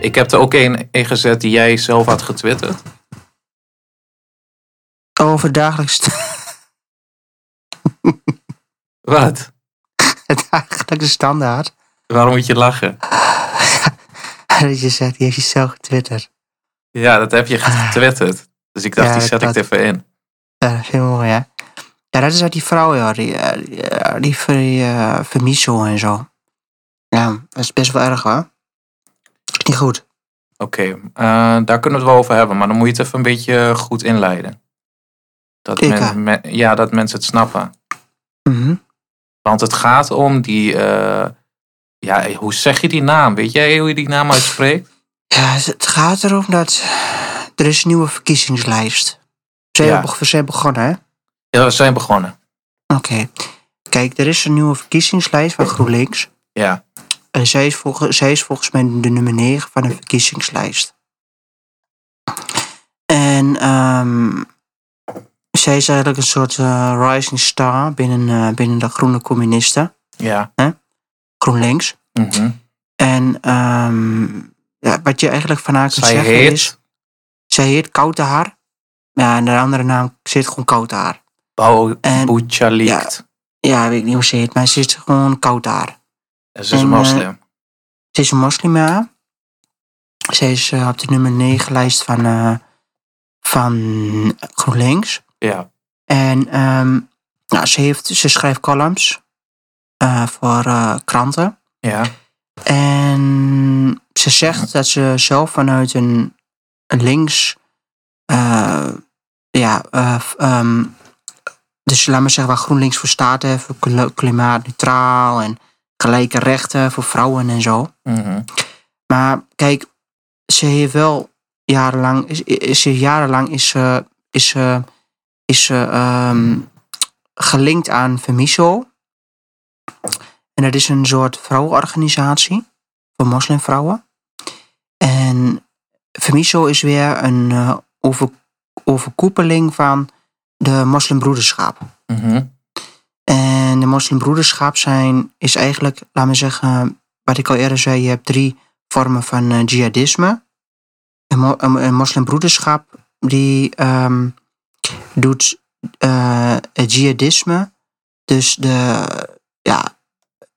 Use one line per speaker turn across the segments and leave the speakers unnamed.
Ik heb er ook één in gezet die jij zelf had getwitterd.
Over dagelijks,
Wat?
dagelijkse standaard.
Waarom moet je lachen?
Dat je zegt, die heeft je zelf getwitterd.
Ja, dat heb je getwitterd. Dus ik dacht,
Ja,
die zet
dat
ik
had-
er even in.
Ja, dat vind ik mooi, hè? Ja, dat is uit die vrouw, joh. Die, eh, die, eh, die ver- eh, vermiezel en zo. Ja, dat is best wel erg, hoor. Is Niet goed.
Oké, eh, daar kunnen we het wel over hebben, maar dan moet je het even een beetje goed inleiden. Dat
Ik,
men-
eh.
men- ja, dat mensen het snappen.
Mhm.
Want het gaat om die. eh, ja, hoe zeg je die naam? Weet jij hoe je die naam uitspreekt?
Ja, het gaat erom dat er is een nieuwe verkiezingslijst. Ze
Ja.
hebben beg- we zijn begonnen, hè?
Ja, we zijn begonnen.
Oké. Kijk, er is een nieuwe verkiezingslijst van GroenLinks.
Ja.
En zij is, volgens zij is volgens mij de nummer 9 van de verkiezingslijst. En ehm, zij is eigenlijk een soort eh, rising star binnen, eh, binnen de groene communisten,
Ja.
GroenLinks.
mhm.
En ehm, ja, wat je eigenlijk van haar kunt
Zij
zeggen
heet.
is... Zij heet Koude Haar. Ja, en de andere naam zit gewoon Koude Haar.
Bau-
En-
Bouchalikt.
Ja, weet ik niet hoe ze heet, maar ze is gewoon Koude Haar.
Ze is dus een
en, eh,
moslim.
Ze is een moslima. Ze is eh, op de nummer 9 lijst van, eh, van GroenLinks.
Ja.
En ehm, nou, ze, heeft, ze schrijft columns eh, voor eh, kranten.
Ja.
En ze zegt dat ze zelf vanuit een een links. eh, ja, eh, f- ehm, dus laat maar zeggen waar GroenLinks voor staat, hè, voor kla- klimaatneutraal en gelijke rechten voor vrouwen en zo.
mhm.
Maar kijk, ze heeft wel jarenlang, is, is, ze- jarenlang is ze, is ze, is ze ehm, gelinkt aan Femiso. En dat is een soort vrouwenorganisatie voor moslimvrouwen. En Femiso is weer een eh, over, overkoepeling van de moslimbroederschap.
mhm.
En de moslimbroederschap zijn, is eigenlijk, laat me zeggen, wat ik al eerder zei, je hebt drie vormen van eh, jihadisme. Een, mo- een, een moslimbroederschap die ehm, doet eh, het jihadisme, dus de, ja,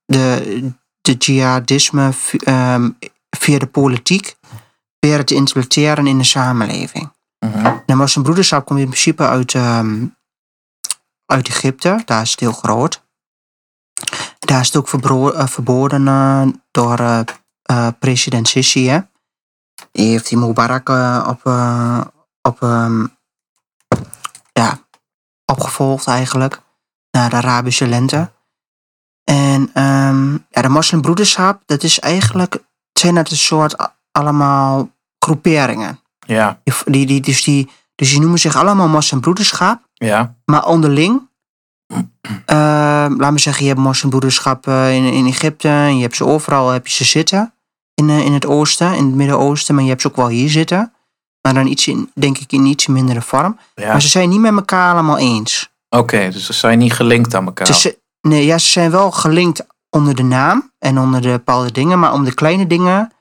de, de jihadisme vi- ehm, via de politiek, weer te implementeren in de samenleving.
mhm.
De moslimbroederschap komt in principe uit, ehm, uit Egypte. Daar is het heel groot. Daar is het ook verbro- eh, verboden eh, door eh, eh, president Sisi. Hè? Die heeft die Mubarak eh, op, eh, op, ehm, ja, opgevolgd eigenlijk. Naar de Arabische lente. En ehm, ja, de moslimbroederschap, dat is eigenlijk, het zijn dat een soort a- allemaal groeperingen.
Ja.
Die- Die, die, dus, die, dus die noemen zich allemaal moslimbroederschap.
Ja.
Maar onderling, eh, laat me zeggen, je hebt moslimbroederschap eh, in, in Egypte. En je hebt ze overal heb je ze zitten. In, eh, in het oosten, in het Midden-Oosten. Maar je hebt ze ook wel hier zitten. Maar dan iets in, denk ik in iets mindere vorm.
Ja.
Maar ze zijn niet met elkaar allemaal eens.
Oké, dus ze zijn niet gelinkt aan elkaar.
Ze, ze- nee, ja, ze zijn wel gelinkt onder de naam en onder de bepaalde dingen. Maar om de kleine dingen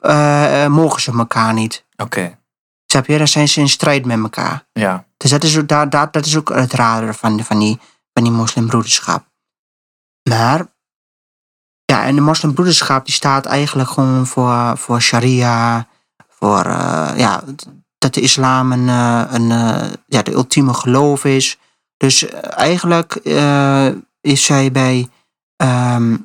eh, eh, mogen ze elkaar niet.
Oké.
Snap je? Dan zijn ze in strijd met elkaar.
Ja.
Dus dat is, ook- daar, daar, dat is ook het rare van, van, die, van die moslimbroederschap. Maar, ja, en de moslimbroederschap die staat eigenlijk gewoon voor, voor sharia, voor, eh, ja, dat de islam een, eh, een eh, ja, de ultieme geloof is. Dus eh, eigenlijk eh, is zij bij, ehm,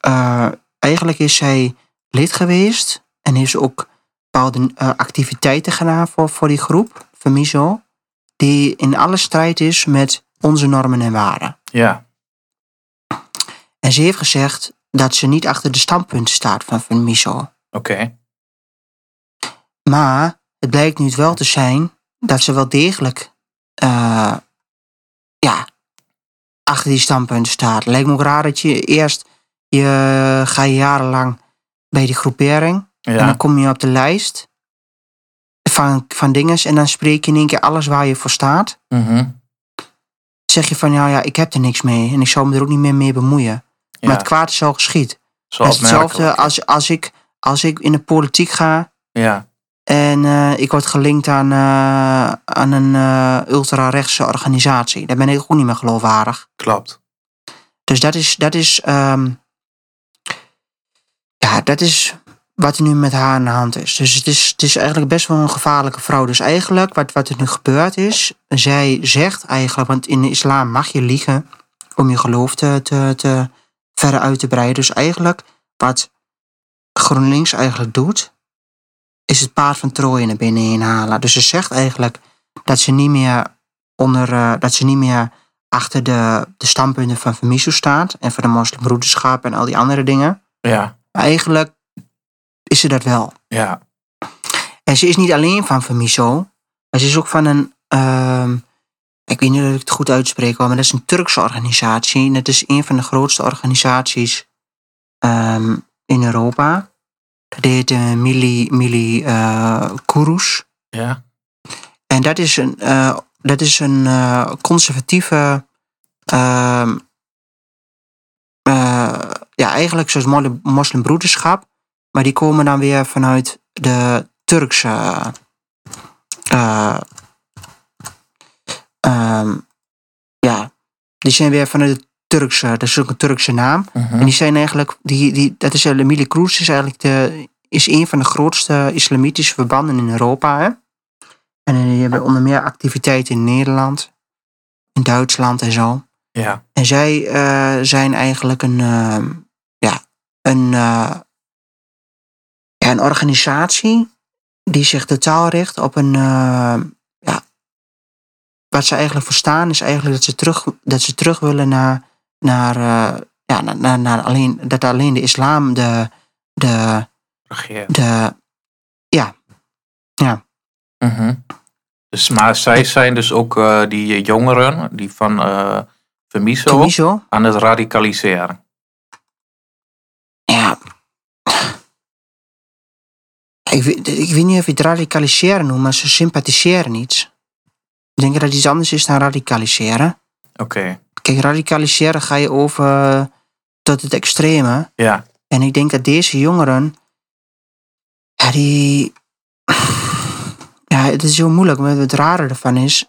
eh, eigenlijk is zij lid geweest en heeft ze ook bepaalde eh, activiteiten gedaan voor, voor die groep, Femiso, die in alle strijd is met onze normen en waarden.
Ja.
En ze heeft gezegd dat ze niet achter de standpunten staat van Femiso.
Oké.
Maar het blijkt nu wel te zijn dat ze wel degelijk eh, ja, achter die standpunten staat. Lijkt me ook raar dat je eerst, je ga je jarenlang bij die groepering En
Ja.
dan kom je op de lijst van, van dinges en dan spreek je in één keer alles waar je voor staat.
mhm.
Zeg je van, ja, ja, ik heb er niks mee en ik zou me er ook niet meer mee bemoeien.
Ja.
Maar het kwaad is al geschiet.
Zo
Dat is hetzelfde
opmerkelijk.
als, als ik als ik in de politiek ga
Ja.
en eh, ik word gelinkt aan, eh, aan een eh ultra-rechtse organisatie, dan ben ik ook niet meer geloofwaardig.
Klopt.
Dus dat is, dat is, ehm, ja, dat is wat er nu met haar aan de hand is. Dus het is, het is eigenlijk best wel een gevaarlijke vrouw. Dus eigenlijk, wat, wat er nu gebeurd is, zij zegt eigenlijk, want in de islam mag je liegen om je geloof te, te, te verder uit te breiden. Dus eigenlijk, wat GroenLinks eigenlijk doet, is het paard van Troje naar binnen inhalen. Dus ze zegt eigenlijk dat ze niet meer onder, eh, dat ze niet meer achter de, de standpunten van Vermiso staat en van de moslimbroederschap en al die andere dingen.
Ja.
Maar eigenlijk is ze dat wel.
Ja.
En ze is niet alleen van Vermiso, maar ze is ook van een, ehm, ik weet niet of ik het goed uitspreek, hoor, maar dat is een Turkse organisatie. En dat is een van de grootste organisaties ehm, in Europa. Dat heet eh, Mili, Mili eh, Kurus.
Ja.
En dat is een, eh, dat is een eh, conservatieve. ehm, eh, ja, eigenlijk zoals mol- moslimbroederschap. Maar die komen dan weer vanuit de Turkse. eh, ehm, ja, die zijn weer vanuit de Turkse. Dat is ook een Turkse naam.
Mhm.
En die zijn eigenlijk, die, die, dat is Emilie Kroes, is eigenlijk de, is een van de grootste islamitische verbanden in Europa. Hè? En eh, die hebben onder meer activiteiten in Nederland, in Duitsland en zo.
Ja.
En zij eh, zijn eigenlijk een, eh, ja, een, eh, ja, een organisatie die zich totaal richt op een. eh, ja, wat ze eigenlijk verstaan is eigenlijk dat ze terug, dat ze terug willen naar. naar eh, ja, naar, naar, naar alleen, dat alleen de islam de, de,
Regeer.
de.
Mhm. Dus, maar zij zijn dus ook eh, die jongeren die van eh Vermiso
Temiso.
aan het radicaliseren.
Ja. Ik weet, ik weet niet of je het radicaliseren noemt, maar ze sympathiseren niet. Ik denk dat het iets anders is dan radicaliseren.
Oké.
Kijk, radicaliseren ga je over eh, tot het extreme.
Ja.
En ik denk dat deze jongeren. Ja, die. Ja, het is heel moeilijk. Maar het rare ervan is.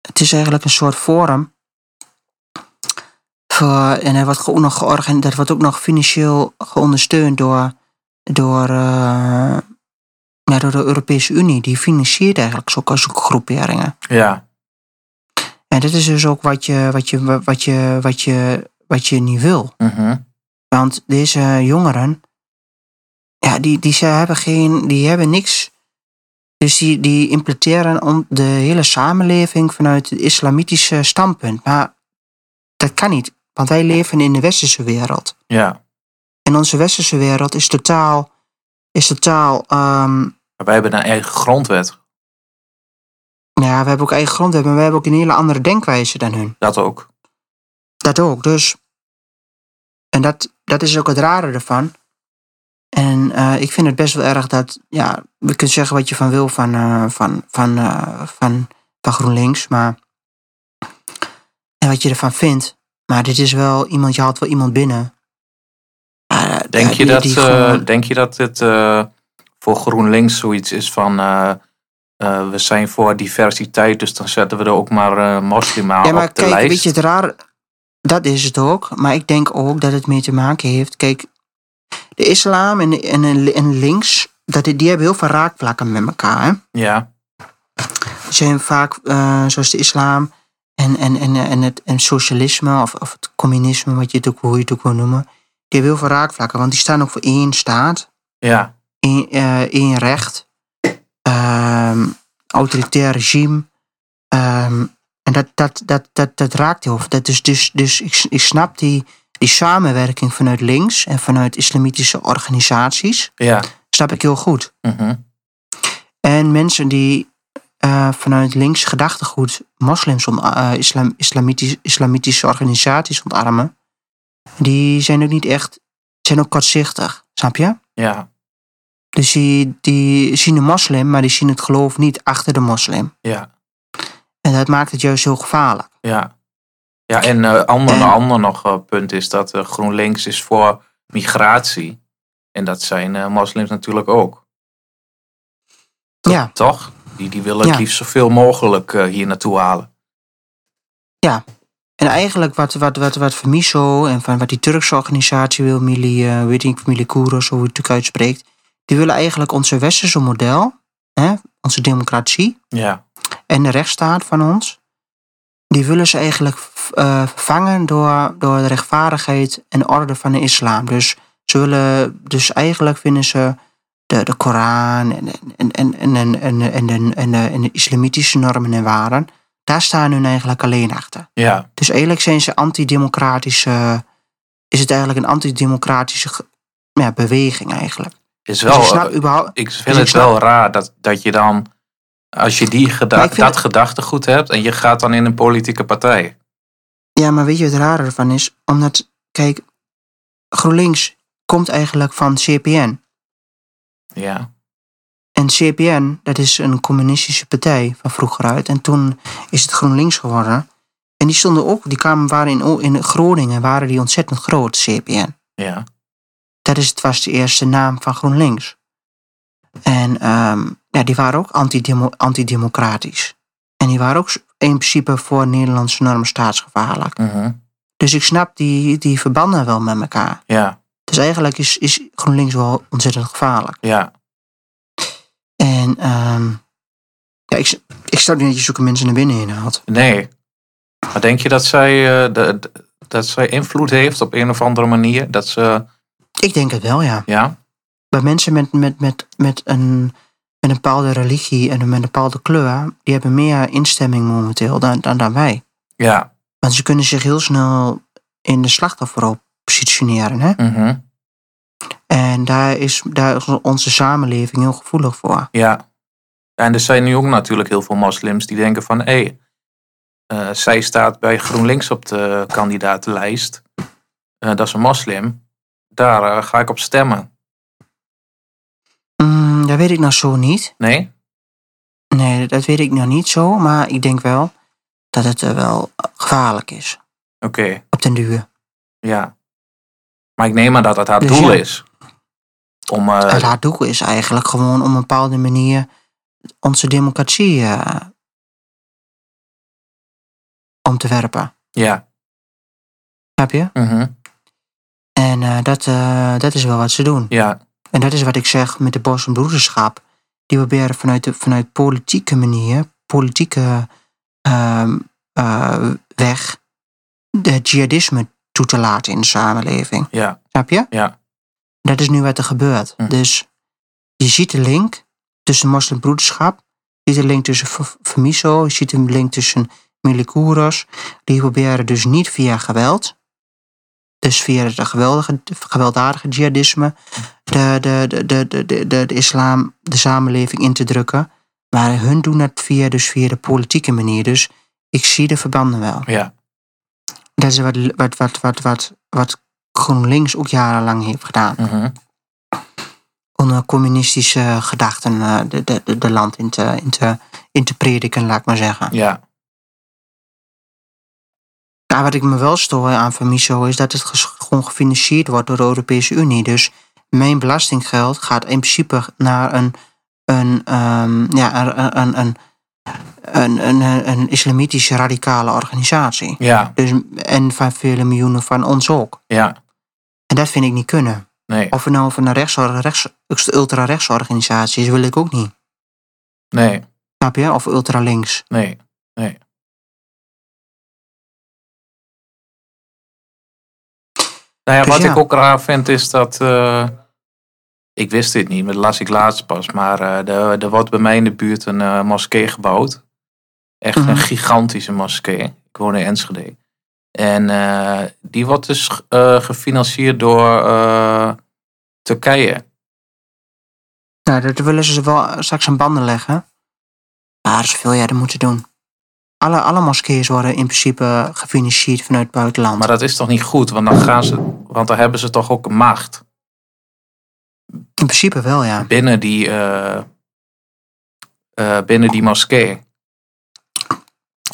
Het is eigenlijk een soort forum. Voor, en dat wordt, ook nog georgan, dat wordt ook nog financieel geondersteund door. door, eh, ja, door de Europese Unie. Die financiert eigenlijk zulke, zulke groeperingen.
Ja.
En dat is dus ook wat je, wat je, wat je, wat je, wat je niet wil.
Mhm.
Want deze jongeren, ja, die, die, ze hebben, geen, die hebben niks. Dus die, die implementeren om de hele samenleving vanuit het islamitische standpunt. Maar dat kan niet, want wij leven in de westerse wereld.
Ja.
En onze westerse wereld is totaal, is totaal ehm,
Maar wij hebben een eigen grondwet.
nou ja, we hebben ook eigen grondwet, maar we hebben ook een hele andere denkwijze dan hun.
Dat ook.
Dat ook, dus. En dat, dat is ook het rare ervan. En eh, ik vind het best wel erg dat, ja, je kunt zeggen wat je van wil van, eh, van, van, eh, van, van GroenLinks, maar. En wat je ervan vindt. Maar dit is wel iemand, je haalt wel iemand binnen. Ja,
Denk,
ja,
je,
die-
dat,
die
eh,
gewoon-
denk je dat het eh, voor GroenLinks zoiets is van... eh, eh, we zijn voor diversiteit, dus dan zetten we er ook maar eh moslim aan
ja, maar
op de
kijk,
lijst.
weet je, het raar, dat is het ook. Maar ik denk ook dat het mee te maken heeft. Kijk, de islam en, en, en links, dat, die die hebben heel veel raakvlakken met elkaar. Hè?
Ja,
zijn vaak, eh, zoals de islam en, en, en, en het en socialisme of, of het communisme, wat je het ook, hoe je het ook wil noemen, die hebben heel veel raakvlakken, want die staan ook voor één staat,
ja,
één, eh, één recht, ehm, autoritair regime. ehm, en dat, dat, dat, dat, dat raakt heel veel. Dat is dus, dus ik, ik snap die, die samenwerking vanuit links en vanuit islamitische organisaties,
ja.
snap ik heel goed.
Mhm.
En mensen die eh, vanuit links gedachtegoed moslims, om, eh, islam, islamitisch, islamitische organisaties ontarmen, die zijn ook niet echt, zijn ook kortzichtig, snap je?
Ja,
Dus die, die zien de moslim, maar die zien het geloof niet achter de moslim.
ja,
En dat maakt het juist heel gevaarlijk.
ja. Ja, en eh ander,
En-
ander nog eh, punt is dat eh, GroenLinks is voor migratie. En dat zijn eh, moslims natuurlijk ook.
Ja,
Toch? Die, die willen
Ja.
het liefst zoveel mogelijk eh, hier naartoe halen.
en eigenlijk wat, wat, wat, wat van MISO en van wat die Turkse organisatie wil, Mili, eh, weet ik, Mili Kouros, hoe het natuurlijk uitspreekt, die willen eigenlijk onze westerse model, hè, onze democratie,
Ja,
en de rechtsstaat van ons, die willen ze eigenlijk v- eh, vervangen door, door de rechtvaardigheid en orde van de islam. Dus, ze willen, dus eigenlijk vinden ze de, de Koran en, en, en, en, en, en, en, de- en de, en de islamitische normen en waarden, daar staan hun eigenlijk alleen achter.
ja,
Dus eigenlijk zijn ze antidemocratische, is het eigenlijk een antidemocratische ge- ja, beweging eigenlijk.
is
Dus
wel.
ik
eh,
snap überhaupt,
ik vind
Dus ik
het wel raar dat, dat je dan, als je die geda-
Maar ik vind
dat
het-
gedachtegoed hebt en je gaat dan in een politieke partij.
Ja, maar weet je wat het rare ervan is? Omdat, kijk, GroenLinks komt eigenlijk van CPN.
Ja,
En CPN, dat is een communistische partij van vroeger uit. En toen is het GroenLinks geworden. En die stonden ook, die kwamen, waren in, O- in Groningen waren die ontzettend groot, CPN.
ja,
Dat is, het was de eerste naam van GroenLinks. En ehm, ja, die waren ook antidemo- antidemocratisch. En die waren ook in principe voor Nederlandse normen staatsgevaarlijk.
mhm,
Dus ik snap die, die verbanden wel met elkaar.
ja,
Dus eigenlijk is, is GroenLinks wel ontzettend gevaarlijk.
ja,
En ehm ja, ik, s- ik snap niet dat je zulke mensen naar binnen heen haalt.
nee. Maar denk je dat zij, eh, de- de- dat zij invloed heeft op een of andere manier? Dat ze,
Ik denk het wel, ja.
ja,
Bij mensen met, met, met, met, een, met een bepaalde religie en met een bepaalde kleur, die hebben meer instemming momenteel dan, dan, dan wij.
ja,
Want ze kunnen zich heel snel in de slachtofferrol positioneren. Hè?
mhm,
En daar is, daar is onze samenleving heel gevoelig voor.
ja. En er zijn nu ook natuurlijk heel veel moslims die denken van, hé, eh, zij staat bij GroenLinks op de kandidatenlijst. Eh, dat is een moslim. Daar eh, ga ik op stemmen.
Mm, dat weet ik nou zo niet.
Nee?
Nee, dat weet ik nog niet zo, maar ik denk wel dat het eh, wel eh, gevaarlijk is.
Oké,
Op den duur.
ja. Maar ik neem aan dat dat haar
Dus
doel
ja.
is. Om, eh,
het haar doel is eigenlijk gewoon op een bepaalde manier onze democratie eh, om te werpen.
ja.
Snap je?
mhm,
En eh, dat, eh, dat is wel wat ze doen.
ja,
En dat is wat ik zeg met de Boston Broederschap. Die proberen vanuit, de, vanuit politieke manier, politieke ehm, eh, weg, de jihadisme toe te laten in de samenleving.
ja,
Snap je?
Ja.
Dat is nu wat er gebeurt.
Hm.
Dus je ziet de link tussen moslimbroederschap. Je ziet de link tussen F- Famiso. Je ziet de link tussen Milikouros. Die proberen dus niet via geweld. Dus via het geweldige, gewelddadige jihadisme. De,
Hm.
de, de, de, de, de, de, de islam, de samenleving in te drukken. Maar hun doen dat via, dus via de politieke manier. Dus ik zie de verbanden wel.
ja,
Dat is wat, wat, wat, wat, wat, wat GroenLinks ook jarenlang heeft gedaan.
mhm,
Onder eh, communistische gedachten eh, de, de, de, de land in te, in, te, in te prediken, laat ik maar zeggen.
ja,
Ja, wat ik me wel stoor aan van MISO is dat het ges- gewoon gefinancierd wordt door de Europese Unie. Dus mijn belastinggeld gaat in principe naar een, een, ehm, ja, een, een, een, een, een, een, een islamitische radicale organisatie.
ja,
Dus, en van vele miljoenen van ons ook.
ja,
En dat vind ik niet kunnen.
nee,
Of het nou van een rechts, rechts, ultra-rechtsorganisatie is, wil ik ook niet.
nee,
Snap je? Of ultra-links.
nee. Nou ja, Nou
Dus
wat
ja.
ik ook raar vind is dat, eh, ik wist dit niet, maar dat las ik laatst pas, maar eh, er, er wordt bij mij in de buurt een eh, moskee gebouwd. Echt
Mhm.
een gigantische moskee. Ik woon in Enschede. En eh, die wordt dus eh, gefinancierd door eh, Turkije.
Nou, dat willen ze wel straks aan banden leggen. Maar dat is veel jij moeten doen. Alle, alle moskeeën worden in principe gefinancierd vanuit het buitenland.
Maar dat is toch niet goed, want dan, gaan ze, want dan hebben ze toch ook een macht
in principe wel, ja.
binnen die, eh, eh, binnen die moskee.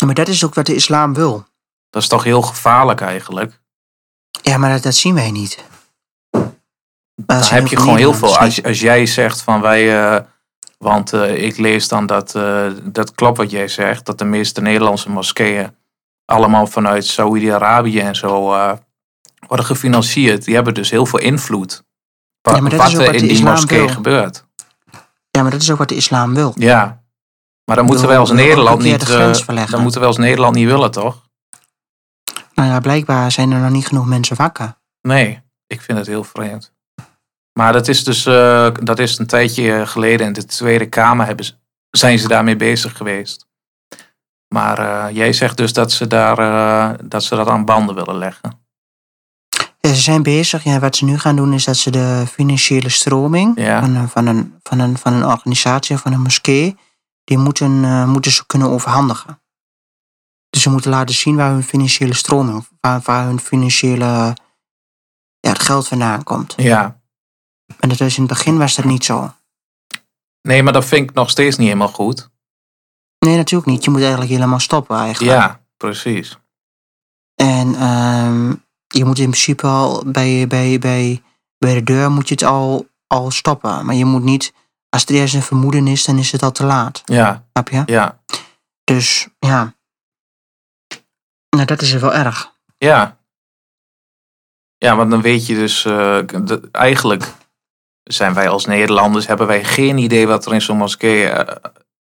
Maar dat is ook wat de islam wil.
Dat is toch heel gevaarlijk eigenlijk.
Ja, maar dat, dat zien wij niet.
Daar heb je gewoon heel veel. Als, als jij zegt van wij. eh, want eh, ik lees dan dat. eh, dat klopt wat jij zegt. Dat de meeste Nederlandse moskeeën. allemaal vanuit Saoedi-Arabië en zo. eh, worden gefinancierd. Die hebben dus heel veel invloed. Wa-
Ja, maar dat
wat
is ook
er
wat
in
de
die
islam
moskee
wil.
gebeurt.
Ja, maar dat is ook wat de islam wil.
Ja. Maar dan moeten wij als
Wil- wil ook
Nederland
een keer
niet.
de grens
eh,
verleggen.
dan moeten wij als Nederland niet willen, toch?
Nou ja, blijkbaar zijn er nog niet genoeg mensen wakker.
Nee, ik vind het heel vreemd. Maar dat is dus eh, dat is een tijdje geleden in de Tweede Kamer hebben ze, zijn ze daarmee bezig geweest. Maar eh, jij zegt dus dat ze, daar, eh, dat ze dat aan banden willen leggen.
Ja, ze zijn bezig. Ja, wat ze nu gaan doen is dat ze de financiële stroming
Ja.
van, een, van, een, van, een, van een organisatie, van een moskee, die moeten, eh, moeten ze kunnen overhandigen. Dus ze moeten laten zien waar hun financiële stroming, waar, waar hun financiële ja, het geld vandaan komt.
Ja.
En dat is in het begin was dat niet zo.
Nee, maar dat vind ik nog steeds niet helemaal goed.
Nee, natuurlijk niet. Je moet eigenlijk helemaal stoppen eigenlijk.
Ja, precies.
En ehm, je moet in principe al bij, bij, bij, bij de deur moet je het al, al stoppen. Maar je moet niet, als er eerst een vermoeden is, dan is het al te laat.
Ja,
Snap je?
ja,
Dus ja. Nou, dat is wel erg.
ja. Ja, want dan weet je dus, eh, de- eigenlijk zijn wij als Nederlanders, hebben wij geen idee wat er in zo'n moskee, eh,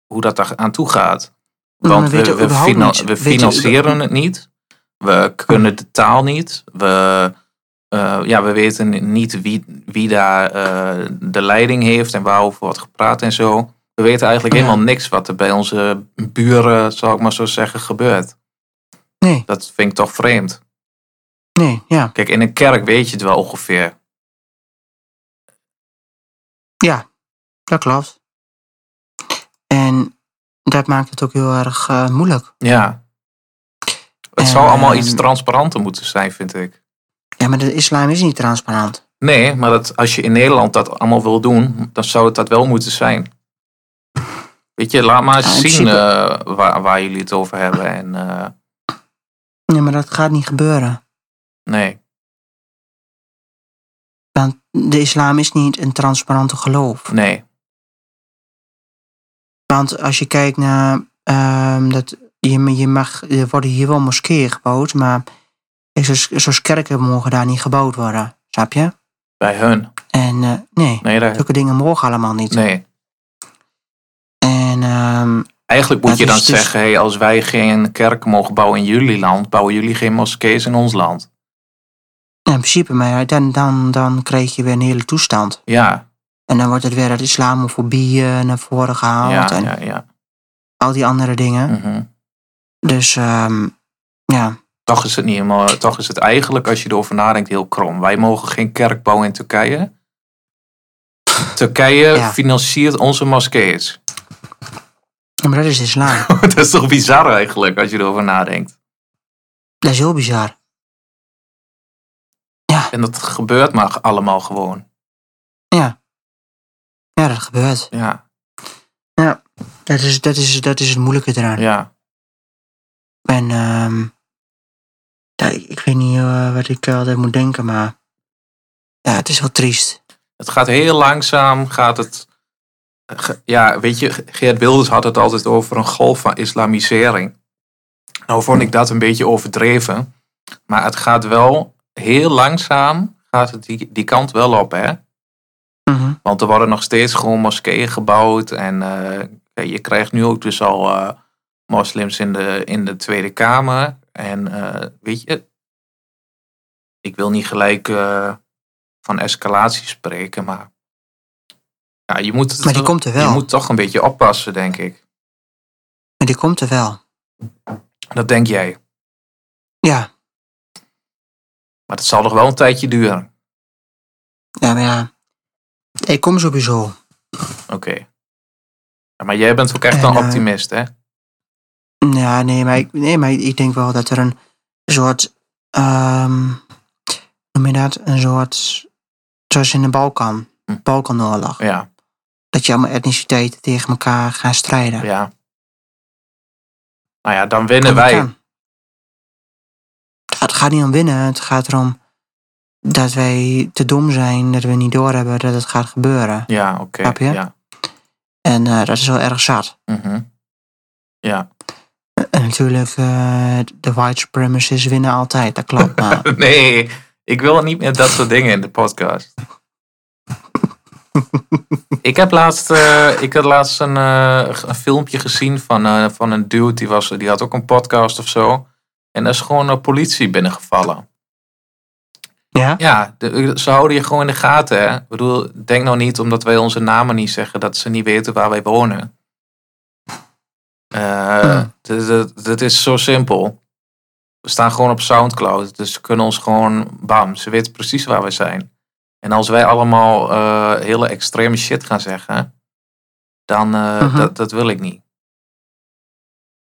hoe dat daar aan toe gaat.
Nou,
Want
we weten
we, we,
überhaupt
finan-
niet-
we
weten we
financieren
überhaupt-
het niet. We kunnen de taal niet. We, eh, ja, we weten niet wie, wie daar eh, de leiding heeft en waarover wordt gepraat en zo. We weten eigenlijk
Ja.
helemaal niks wat er bij onze buren, zal ik maar zo zeggen, gebeurt.
Nee,
Dat vind ik toch vreemd.
nee, ja.
Kijk, in een kerk weet je het wel ongeveer.
Ja, dat klopt. En dat maakt het ook heel erg eh, moeilijk.
Ja. Het zou allemaal iets
Ehm.
transparanter moeten zijn, vind ik.
Ja, maar de islam is niet transparant.
Nee, maar dat, als je in Nederland dat allemaal wil doen, dan zou het dat wel moeten zijn. Weet je, laat maar eens
Ja, in
zien
principe-
eh, waar, waar jullie het over hebben. En, eh,
Nee, maar dat gaat niet gebeuren.
nee,
Want de islam is niet een transparante geloof.
nee,
Want als je kijkt naar. ehm, dat je, je mag, er worden hier wel moskeeën gebouwd, maar dus, zoals, zoals kerken mogen daar niet gebouwd worden. Snap je?
bij hun.
En eh, nee,
Nee, daar,
zulke dingen mogen allemaal niet.
nee.
En ehm,
Eigenlijk moet
Dat
je dan
is dus-
zeggen, hey, als wij geen kerk mogen bouwen in jullie land, bouwen jullie geen moskees in ons land.
in principe, maar dan, dan, dan krijg je weer een hele toestand.
Ja,
En dan wordt het weer dat islamofobie eh, naar voren
ja,
gehaald en
ja, ja.
al die andere dingen.
mhm.
Dus ehm, ja,
Toch is het niet helemaal, toch is het eigenlijk, als je erover nadenkt, heel krom. Wij mogen geen kerk bouwen in Turkije. Turkije
Ja.
financiert onze moskeeën.
maar dat is islam.
Dat is toch bizar eigenlijk, als je erover nadenkt.
dat is heel bizar.
En dat gebeurt maar allemaal gewoon.
Ja, dat gebeurt.
Ja,
Dat is, dat is, dat is het moeilijke eraan.
ja.
En ehm, ja, ik, ik weet niet eh, wat ik altijd moet denken, maar ja, het is wel triest.
Het gaat heel langzaam, gaat het... ge- Ja, weet je, Geert Wilders had het altijd over een golf van islamisering. Nou vond ik dat een beetje overdreven. Maar het gaat wel heel langzaam, gaat het die, die kant wel op, hè?
Mhm.
Want er worden nog steeds gewoon moskeeën gebouwd. En eh, je krijgt nu ook dus al eh, moslims in de, in de Tweede Kamer. En eh, weet je, ik wil niet gelijk eh, van escalatie spreken, maar ja, je, moet het
Maar die
toch-
komt er wel.
je moet toch een beetje oppassen, denk ik.
Maar die komt er wel.
Dat denk jij.
Ja,
Maar dat zal nog wel een tijdje duren.
ja maar ja. Ik kom sowieso.
Oké. Ja, maar jij bent ook echt
En,
een
eh,
optimist, hè?
Ja, nee, maar ik, nee, maar ik denk wel dat er een soort, ehm noem je dat, een soort, zoals in de Balkan,
Hm.
Balkanoorlog.
Ja,
Dat je allemaal etniciteiten tegen elkaar gaan strijden.
ja. Nou ja, dan winnen wij.
Het gaat niet om winnen, het gaat erom dat wij te dom zijn, dat we niet doorhebben dat het gaat gebeuren.
Ja, oké.
Snap je?
Ja.
En eh, dat is wel erg zat.
Mhm. ja.
En natuurlijk, eh, de white supremacists winnen altijd, dat klopt. Maar
Nee, ik wil niet meer dat soort dingen in de podcast. ik heb laatst, eh, ik had laatst een, eh, een filmpje gezien van, eh, van een dude. Die, was, die had ook een podcast of zo. En daar is gewoon een politie binnengevallen.
ja,
Ja, de- ze houden je gewoon in de gaten. Hè? Ik bedoel, denk nou niet omdat wij onze namen niet zeggen dat ze niet weten waar wij wonen. Eh,
Hmm.
dat- Dat dat is zo simpel. We staan gewoon op Soundcloud, dus ze kunnen ons gewoon, bam, ze weten precies waar we zijn. En als wij allemaal eh, hele extreme shit gaan zeggen, dan eh,
Mhm.
dat, dat wil ik niet.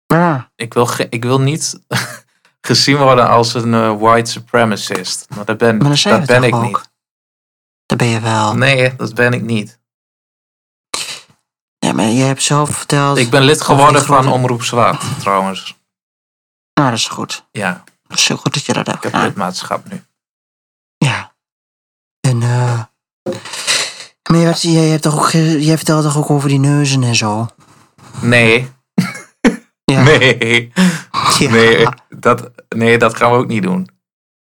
ja,
Ik wil, ge- ik wil niet gezien worden als een eh, white supremacist. Maar dat ben,
maar dan zijn
dat
we
ben
toch
ik
ook.
niet.
Dat ben je wel.
Nee, dat ben ik niet.
Ja, maar je hebt zelf verteld,
Ik ben lid
Of die
geworden van
grote-
Omroep Zwaard, trouwens.
nou dat is goed.
Ja,
Dat is heel goed dat je dat hebt
ik heb
gedaan.
lidmaatschap nu.
Ja. En, eh. Maar je, hebt- je, hebt toch ook, ge- je vertelde toch ook over die neuzen en zo?
Nee,
Ja.
nee,
Ja.
nee, dat, nee, dat gaan we ook niet doen.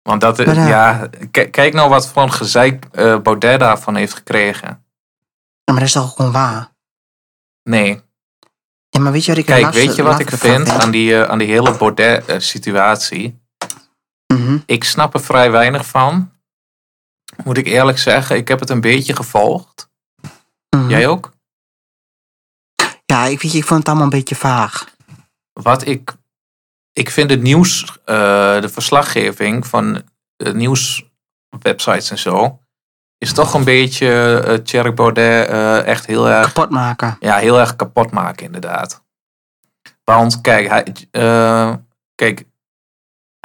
Want dat,
Maar ja.
ja, k- kijk nou wat voor een gezeik eh, Baudet daarvan heeft gekregen.
Ja, Maar dat is toch ook gewoon waar?
Nee,
Ja, maar weet je wat ik
kijk,
laatste-
weet je wat
laatste
ik
ervan
vind aan die, eh, aan die hele Baudet-situatie?
Mhm.
Ik snap er vrij weinig van. Moet ik eerlijk zeggen, ik heb het een beetje gevolgd.
Mhm.
Jij ook?
Ja, ik, weet je, ik vond het allemaal een beetje vaag.
wat ik. Ik vind het nieuws, eh, de verslaggeving van eh, nieuwswebsites en zo, is toch een beetje eh Thierry Baudet eh, echt heel erg,
Kapot maken.
ja, heel erg kapot maken, inderdaad. Want kijk, hij, eh, kijk,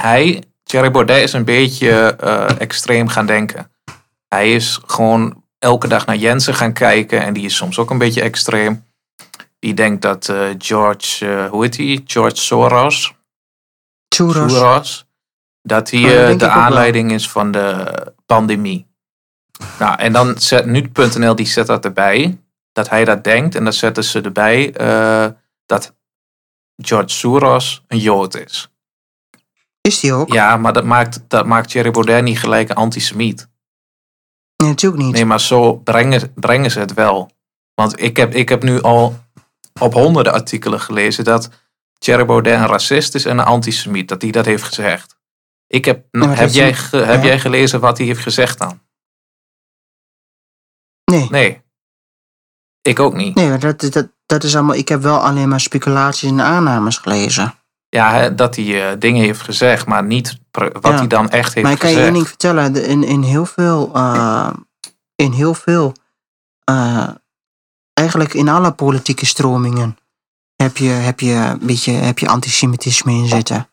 hij, Thierry Baudet, is een beetje eh, extreem gaan denken. Hij is gewoon elke dag naar Jensen gaan kijken en die is soms ook een beetje extreem. Die denkt dat eh, George, eh, hoe heet die? George Soros,
Churros.
Soros, dat hij
Oh, dat
eh,
denk ik
de
ook wel.
aanleiding is van de pandemie. Nou, en dan zet nu.nl die zet dat erbij, dat hij dat denkt, en dan zetten ze erbij eh, dat George Soros een Jood is.
Is die ook?
Ja, maar dat maakt, dat maakt Thierry Baudet niet gelijk een antisemiet.
Nee, natuurlijk niet.
Nee, maar zo brengen, brengen ze het wel. Want ik heb, ik heb nu al op honderden artikelen gelezen dat Thierry Baudet een racist is en een antisemiet. Dat hij dat heeft gezegd. Ik heb,
maar dat
heb,
is
jij,
niet-
ge- heb
ja.
jij gelezen wat hij heeft gezegd dan?
Nee.
Nee. Ik ook niet.
Nee, maar dat, dat, dat is allemaal. Ik heb wel alleen maar speculaties en aannames gelezen.
Ja, hè, dat hij eh, dingen heeft gezegd, maar niet pre- wat
Ja.
hij dan echt heeft
maar ik kan je
gezegd.
één ding vertellen: de- in, in heel veel. eh, in heel veel. eh, eigenlijk in alle politieke stromingen. Heb je, heb, je een beetje, heb je antisemitisme in zitten.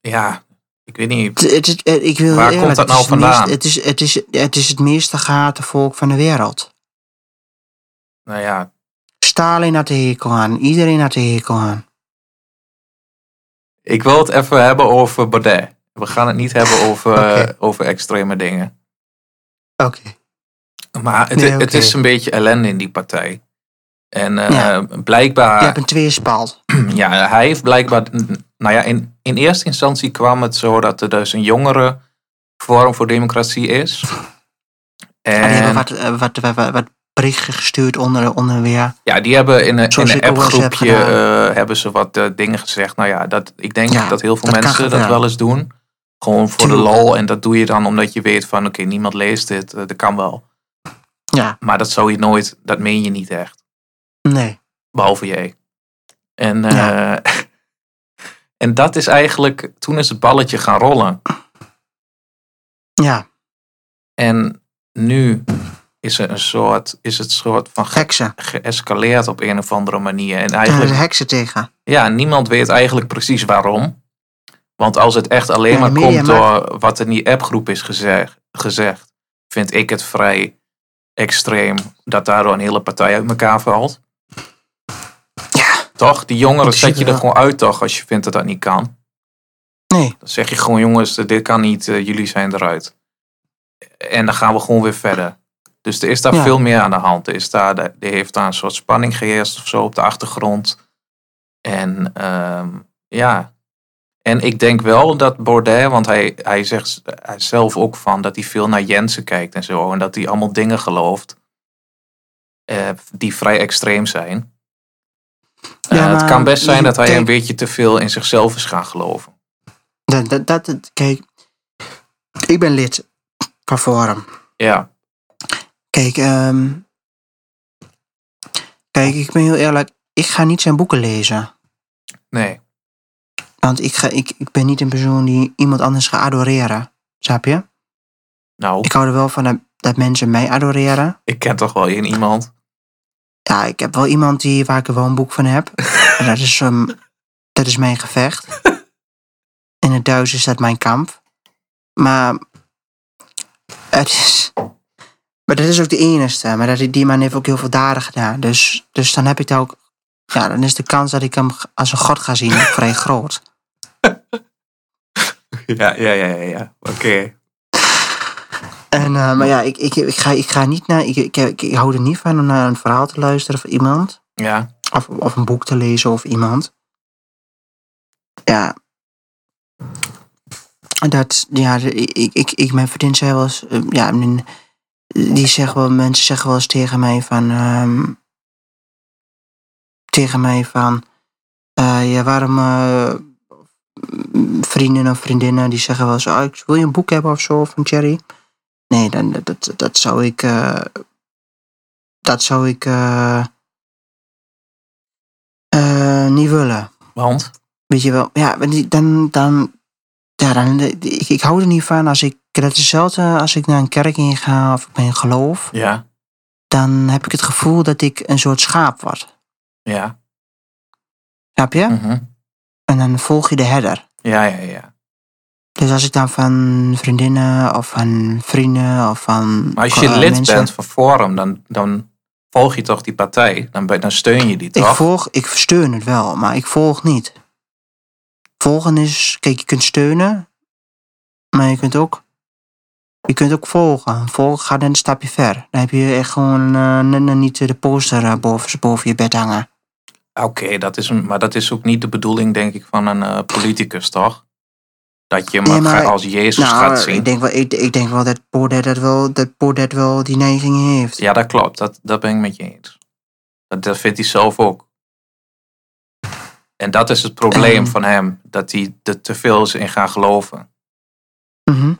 Ja, ik weet niet.
Het, het, is- eh, ik wil
Waar
eerlijk,
komt dat
het is
nou
het meest-
vandaan?
Het is het, is, het is het meest gehate volk van de wereld.
Nou ja,
Stalin had de hekel aan. Iedereen had de hekel aan.
ik wil het even hebben over Baudet. We gaan het niet hebben over, eh,
Oké.
over extreme dingen.
Oké.
Maar het,
Nee,
het
oké.
is een beetje ellende in die partij. En eh,
Ja.
blijkbaar,
Je hebt een tweespalt.
ja, hij heeft blijkbaar, nou ja, in, in eerste instantie kwam het zo dat er dus een jongere vorm voor democratie is.
En Oh, die hebben
En
wat, eh, wat, wat, wat, wat berichten gestuurd onder, onder weer.
ja, die hebben in een, in
Zoals
een
ik ook wel eens heb
appgroepje
gedaan.
eh, hebben ze wat eh, dingen gezegd. Nou ja, dat, ik denk
Ja,
dat heel veel
dat kan
mensen dat
gebeuren.
wel eens doen. Gewoon voor
Tuurlijk.
de lol. En dat doe je dan omdat je weet van, oké, niemand leest dit. eh, dat kan wel.
Ja,
Maar dat zou je nooit, dat meen je niet echt.
nee.
Behalve jij. En, eh,
Ja.
en dat is eigenlijk, toen is het balletje gaan rollen.
Ja,
En nu is, er een soort, is het soort van ge-
heksen.
geëscaleerd op een of andere manier. En
Daar
eigenlijk,
zijn heksen tegen.
ja, niemand weet eigenlijk precies waarom. Want als het echt alleen
Ja, de
maar
media
komt door wat in die appgroep is gezegd, gezegd, vind ik het vrij extreem dat daardoor een hele partij uit elkaar valt.
Ja.
Toch? Die
In
jongeren
principe
zet je er
wel.
gewoon uit, toch, als je vindt dat dat niet kan.
Nee.
Dan zeg je gewoon, jongens, dit kan niet, eh, jullie zijn eruit. En dan gaan we gewoon weer verder. Dus er is daar
Ja.
veel meer aan de hand. Er, is daar, er heeft daar een soort spanning geheerst of zo op de achtergrond. En ehm, ja. En ik denk wel dat Baudet, want hij, hij zegt hij zelf ook van dat hij veel naar Jensen kijkt en zo. En dat hij allemaal dingen gelooft eh, die vrij extreem zijn.
Ja,
Eh, het
maar
kan best zijn
je
dat hij een
kijkt-
beetje te veel in zichzelf is gaan geloven.
Dat, dat, dat, dat- kijk, ik ben lid van Forum.
Ja,
Kijk, ehm, kijk, ik ben heel eerlijk. Ik ga niet zijn boeken lezen.
nee.
Want ik, ga, ik, ik ben niet een persoon die iemand anders gaat adoreren. Snap je?
Nou,
Ik hou er wel van dat, dat mensen mij adoreren.
ik ken toch wel één iemand.
Ja, ik heb wel iemand die, waar ik wel een boek van heb. En dat is, ehm, dat is mijn gevecht. In het Duits is dat mijn kamp. Maar het is... Maar dat is ook de enigste. Maar dat, die man heeft ook heel veel daden gedaan. Dus, dus dan heb ik daar ook... Ja, dan is de kans dat ik hem als een god ga zien ook vrij groot.
Ja, ja, ja, ja. ja. Oké.
En, eh, maar ja, ik, ik, ik, ga, ik ga niet naar... Ik, ik, ik, ik hou er niet van om naar een verhaal te luisteren van iemand.
Ja,
of, of een boek te lezen of iemand. Ja. Dat, ja, ik, ik, ik mijn vriendin zei wel eens, eh, ja, mijn- die zegt wel, mensen zeggen wel eens tegen mij van, ehm, tegen mij van, eh, ja, waarom eh, vrienden of vriendinnen die zeggen wel eens, ah, ik wil je een boek hebben of zo van Jerry? Nee, dan, dat, dat, dat zou ik, eh, dat zou ik, eh, eh, niet willen.
want?
Weet je wel, ja, want die- dan, dan, ja, dan ik, ik hou er niet van als ik, dat is hetzelfde als ik naar een kerk inga of ik ben in geloof,
Ja,
dan heb ik het gevoel dat ik een soort schaap word.
ja.
Snap je?
mhm.
En dan volg je de herder.
Ja, ja, ja.
Dus als ik dan van vriendinnen of van vrienden of van.
Maar als je
eh,
lid
mensen-
bent van Forum, dan, dan volg je toch die partij? Dan, ben- dan steun je die
Ik
toch?
volg, ik steun het wel, maar ik volg niet. Volgen is, kijk, je kunt steunen, maar je kunt ook, je kunt ook volgen. Volgen gaat een stapje ver. Dan heb je echt gewoon eh, net nog niet de poster eh, boven, boven je bed hangen.
Ah, Oké, dat is een, maar dat is ook niet de bedoeling, denk ik, van een eh, politicus, toch? Dat je hem
Nee, maar-
ga- als Jezus
Nou,
gaat
eh,
zien.
ik denk wel, ik, ik denk wel dat Baudet dat wel, dat Baudet wel die neiging heeft.
Ja, dat klopt. Dat, dat ben ik met je eens. Dat, dat vindt hij zelf ook. En dat is het probleem
Ehm.
van hem. Dat hij er te veel is in gaan geloven.
Mhm.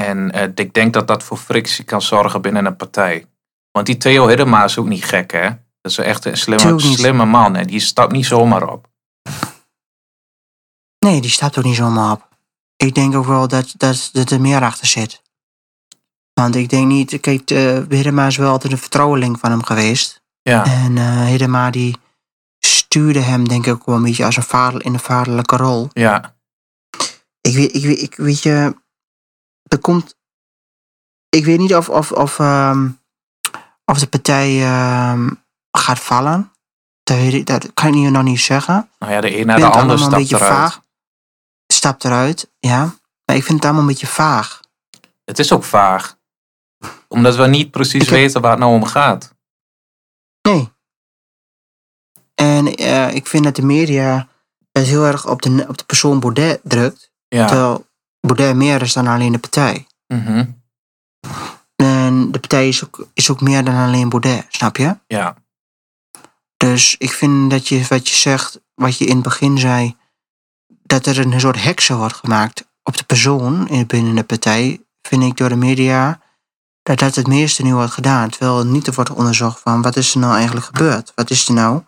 En eh, ik denk dat dat voor frictie kan zorgen binnen een partij. Want die Theo Hiddema is ook niet gek, hè? Dat is echt een slimme,
Tuurlijk niet.
slimme man. En die stapt niet zomaar op.
Nee, die staat ook niet zomaar op. Ik denk ook wel dat, dat, dat er meer achter zit. Want ik denk niet, kijk, eh Hiddema is wel altijd een vertrouweling van hem geweest.
Ja,
En eh Hiddema die stuurde hem denk ik ook wel een beetje als een vader in een vaderlijke rol.
ja,
Ik weet, ik weet, ik weet je, er komt, ik weet niet of, of, of, ehm, of de partij ehm, gaat vallen. Dat, weet ik- dat kan ik nu nog niet zeggen
nou ja, de een naar de
vind het
ander
allemaal een
stapt
beetje
eruit.
vaag. Stapt eruit, ja. Maar ik vind het allemaal een beetje vaag.
Het is ook vaag. Omdat we niet precies
Ik heb-
weten waar het nou om gaat.
Nee. En eh, ik vind dat de media het heel erg op de, op de persoon Baudet drukt.
Ja.
Terwijl Baudet meer is dan alleen de partij.
mhm,
En de partij is ook, is ook meer dan alleen Baudet, snap je?
ja.
Dus ik vind dat je wat je zegt, wat je in het begin zei, dat er een soort heksen wordt gemaakt op de persoon in- binnen de partij, vind ik door de media dat dat het meeste nu wordt gedaan. Terwijl er niet wordt onderzocht van wat is er nou eigenlijk gebeurd? Wat is er nou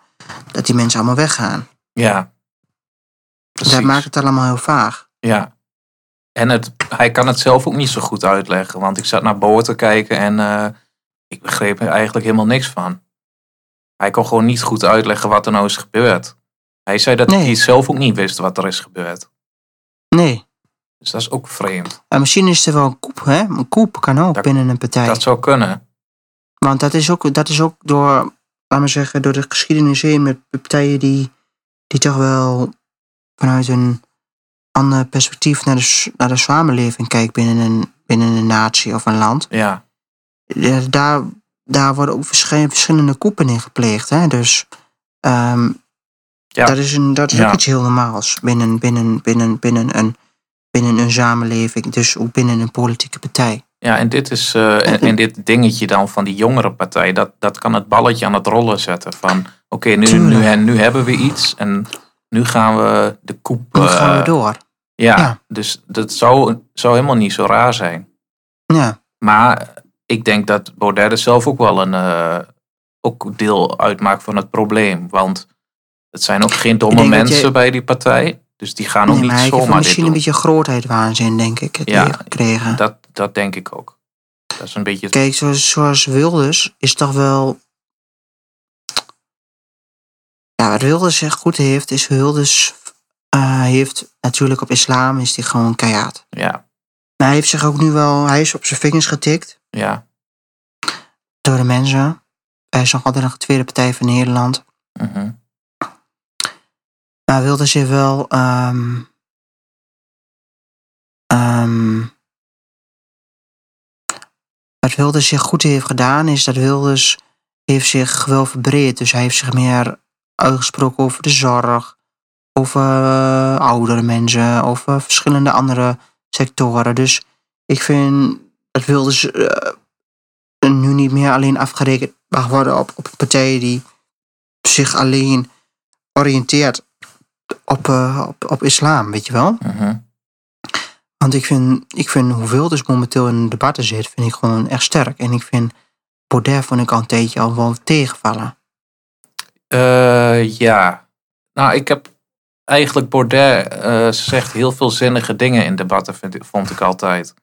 dat die mensen allemaal weggaan?
Ja. Precies.
Dat maakt het allemaal heel vaag.
Ja. En het, hij kan het zelf ook niet zo goed uitleggen. Want ik zat naar Boer te kijken en eh, ik begreep er eigenlijk helemaal niks van. Hij kon gewoon niet goed uitleggen wat er nou is gebeurd. Hij zei dat
Nee.
hij zelf ook niet wist wat er is gebeurd.
Nee.
Dus dat is ook vreemd.
En misschien is er wel een koep, hè? Een koep kan ook
Dat-
binnen een partij.
Dat zou kunnen.
Want dat is ook, dat is ook door, laten we zeggen, door de geschiedenis heen met partijen die, die toch wel vanuit een ander perspectief naar de, s- naar de samenleving kijkt binnen een, binnen een natie of een land.
Ja,
Ja, daar, daar worden ook verschillende, verschillende koepen in gepleegd. Hè? Dus ehm,
Ja.
dat is, een, dat is
Ja.
ook iets heel normaals binnen, binnen, binnen, binnen, een, binnen een samenleving. Dus ook binnen een politieke partij.
ja en, dit is, eh, en, en dit dingetje dan van die jongere partij, dat, dat kan het balletje aan het rollen zetten. Van oké, nu, nu,
Tuurlijk.
nu, hebben we iets en nu gaan we de koep.
En dan gaan we
eh,
door.
ja,
Ja.
dus dat zou, zou helemaal niet zo raar zijn.
Ja,
Maar ik denk dat Baudet er zelf ook wel een eh, ook deel uitmaakt van het probleem. Want het zijn ook geen domme
Ik denk dat
mensen
je-
bij die partij. Dus die gaan ook
nee, maar
niet
hij heeft
zomaar dit
misschien een
doen.
beetje grootheidwaanzin, denk ik,
Ja.
gekregen.
Dat, dat denk ik ook. Dat is een beetje... het-
Kijk, zoals, zoals Wilders is toch wel. Ja, wat Wilders echt goed heeft, is Wilders eh, heeft natuurlijk op islam is hij gewoon keihard.
Ja,
Maar hij heeft zich ook nu wel, hij is op zijn vingers getikt
ja.
door de mensen. Hij is nog altijd nog de tweede partij van Nederland.
mhm.
Maar Wilders heeft wel. ehm, ehm, wat Wilders zich goed heeft gedaan, is dat Wilders heeft zich wel verbreed. Dus hij heeft zich meer uitgesproken over de zorg, over eh, oudere mensen, over verschillende andere sectoren. Dus ik vind dat Wilders eh, nu niet meer alleen afgerekend mag worden op, op partijen die zich alleen oriënteert op, eh, op, op islam, weet je wel.
mhm.
Want ik vind, ik vind hoeveel dus momenteel in debatten zit, vind ik gewoon echt sterk. En ik vind Baudet vond ik al een tijdje al wel tegenvallen.
Eh, ja. Nou, ik heb eigenlijk Baudet eh, zegt heel veel zinnige dingen in debatten, vind ik- vond ik altijd.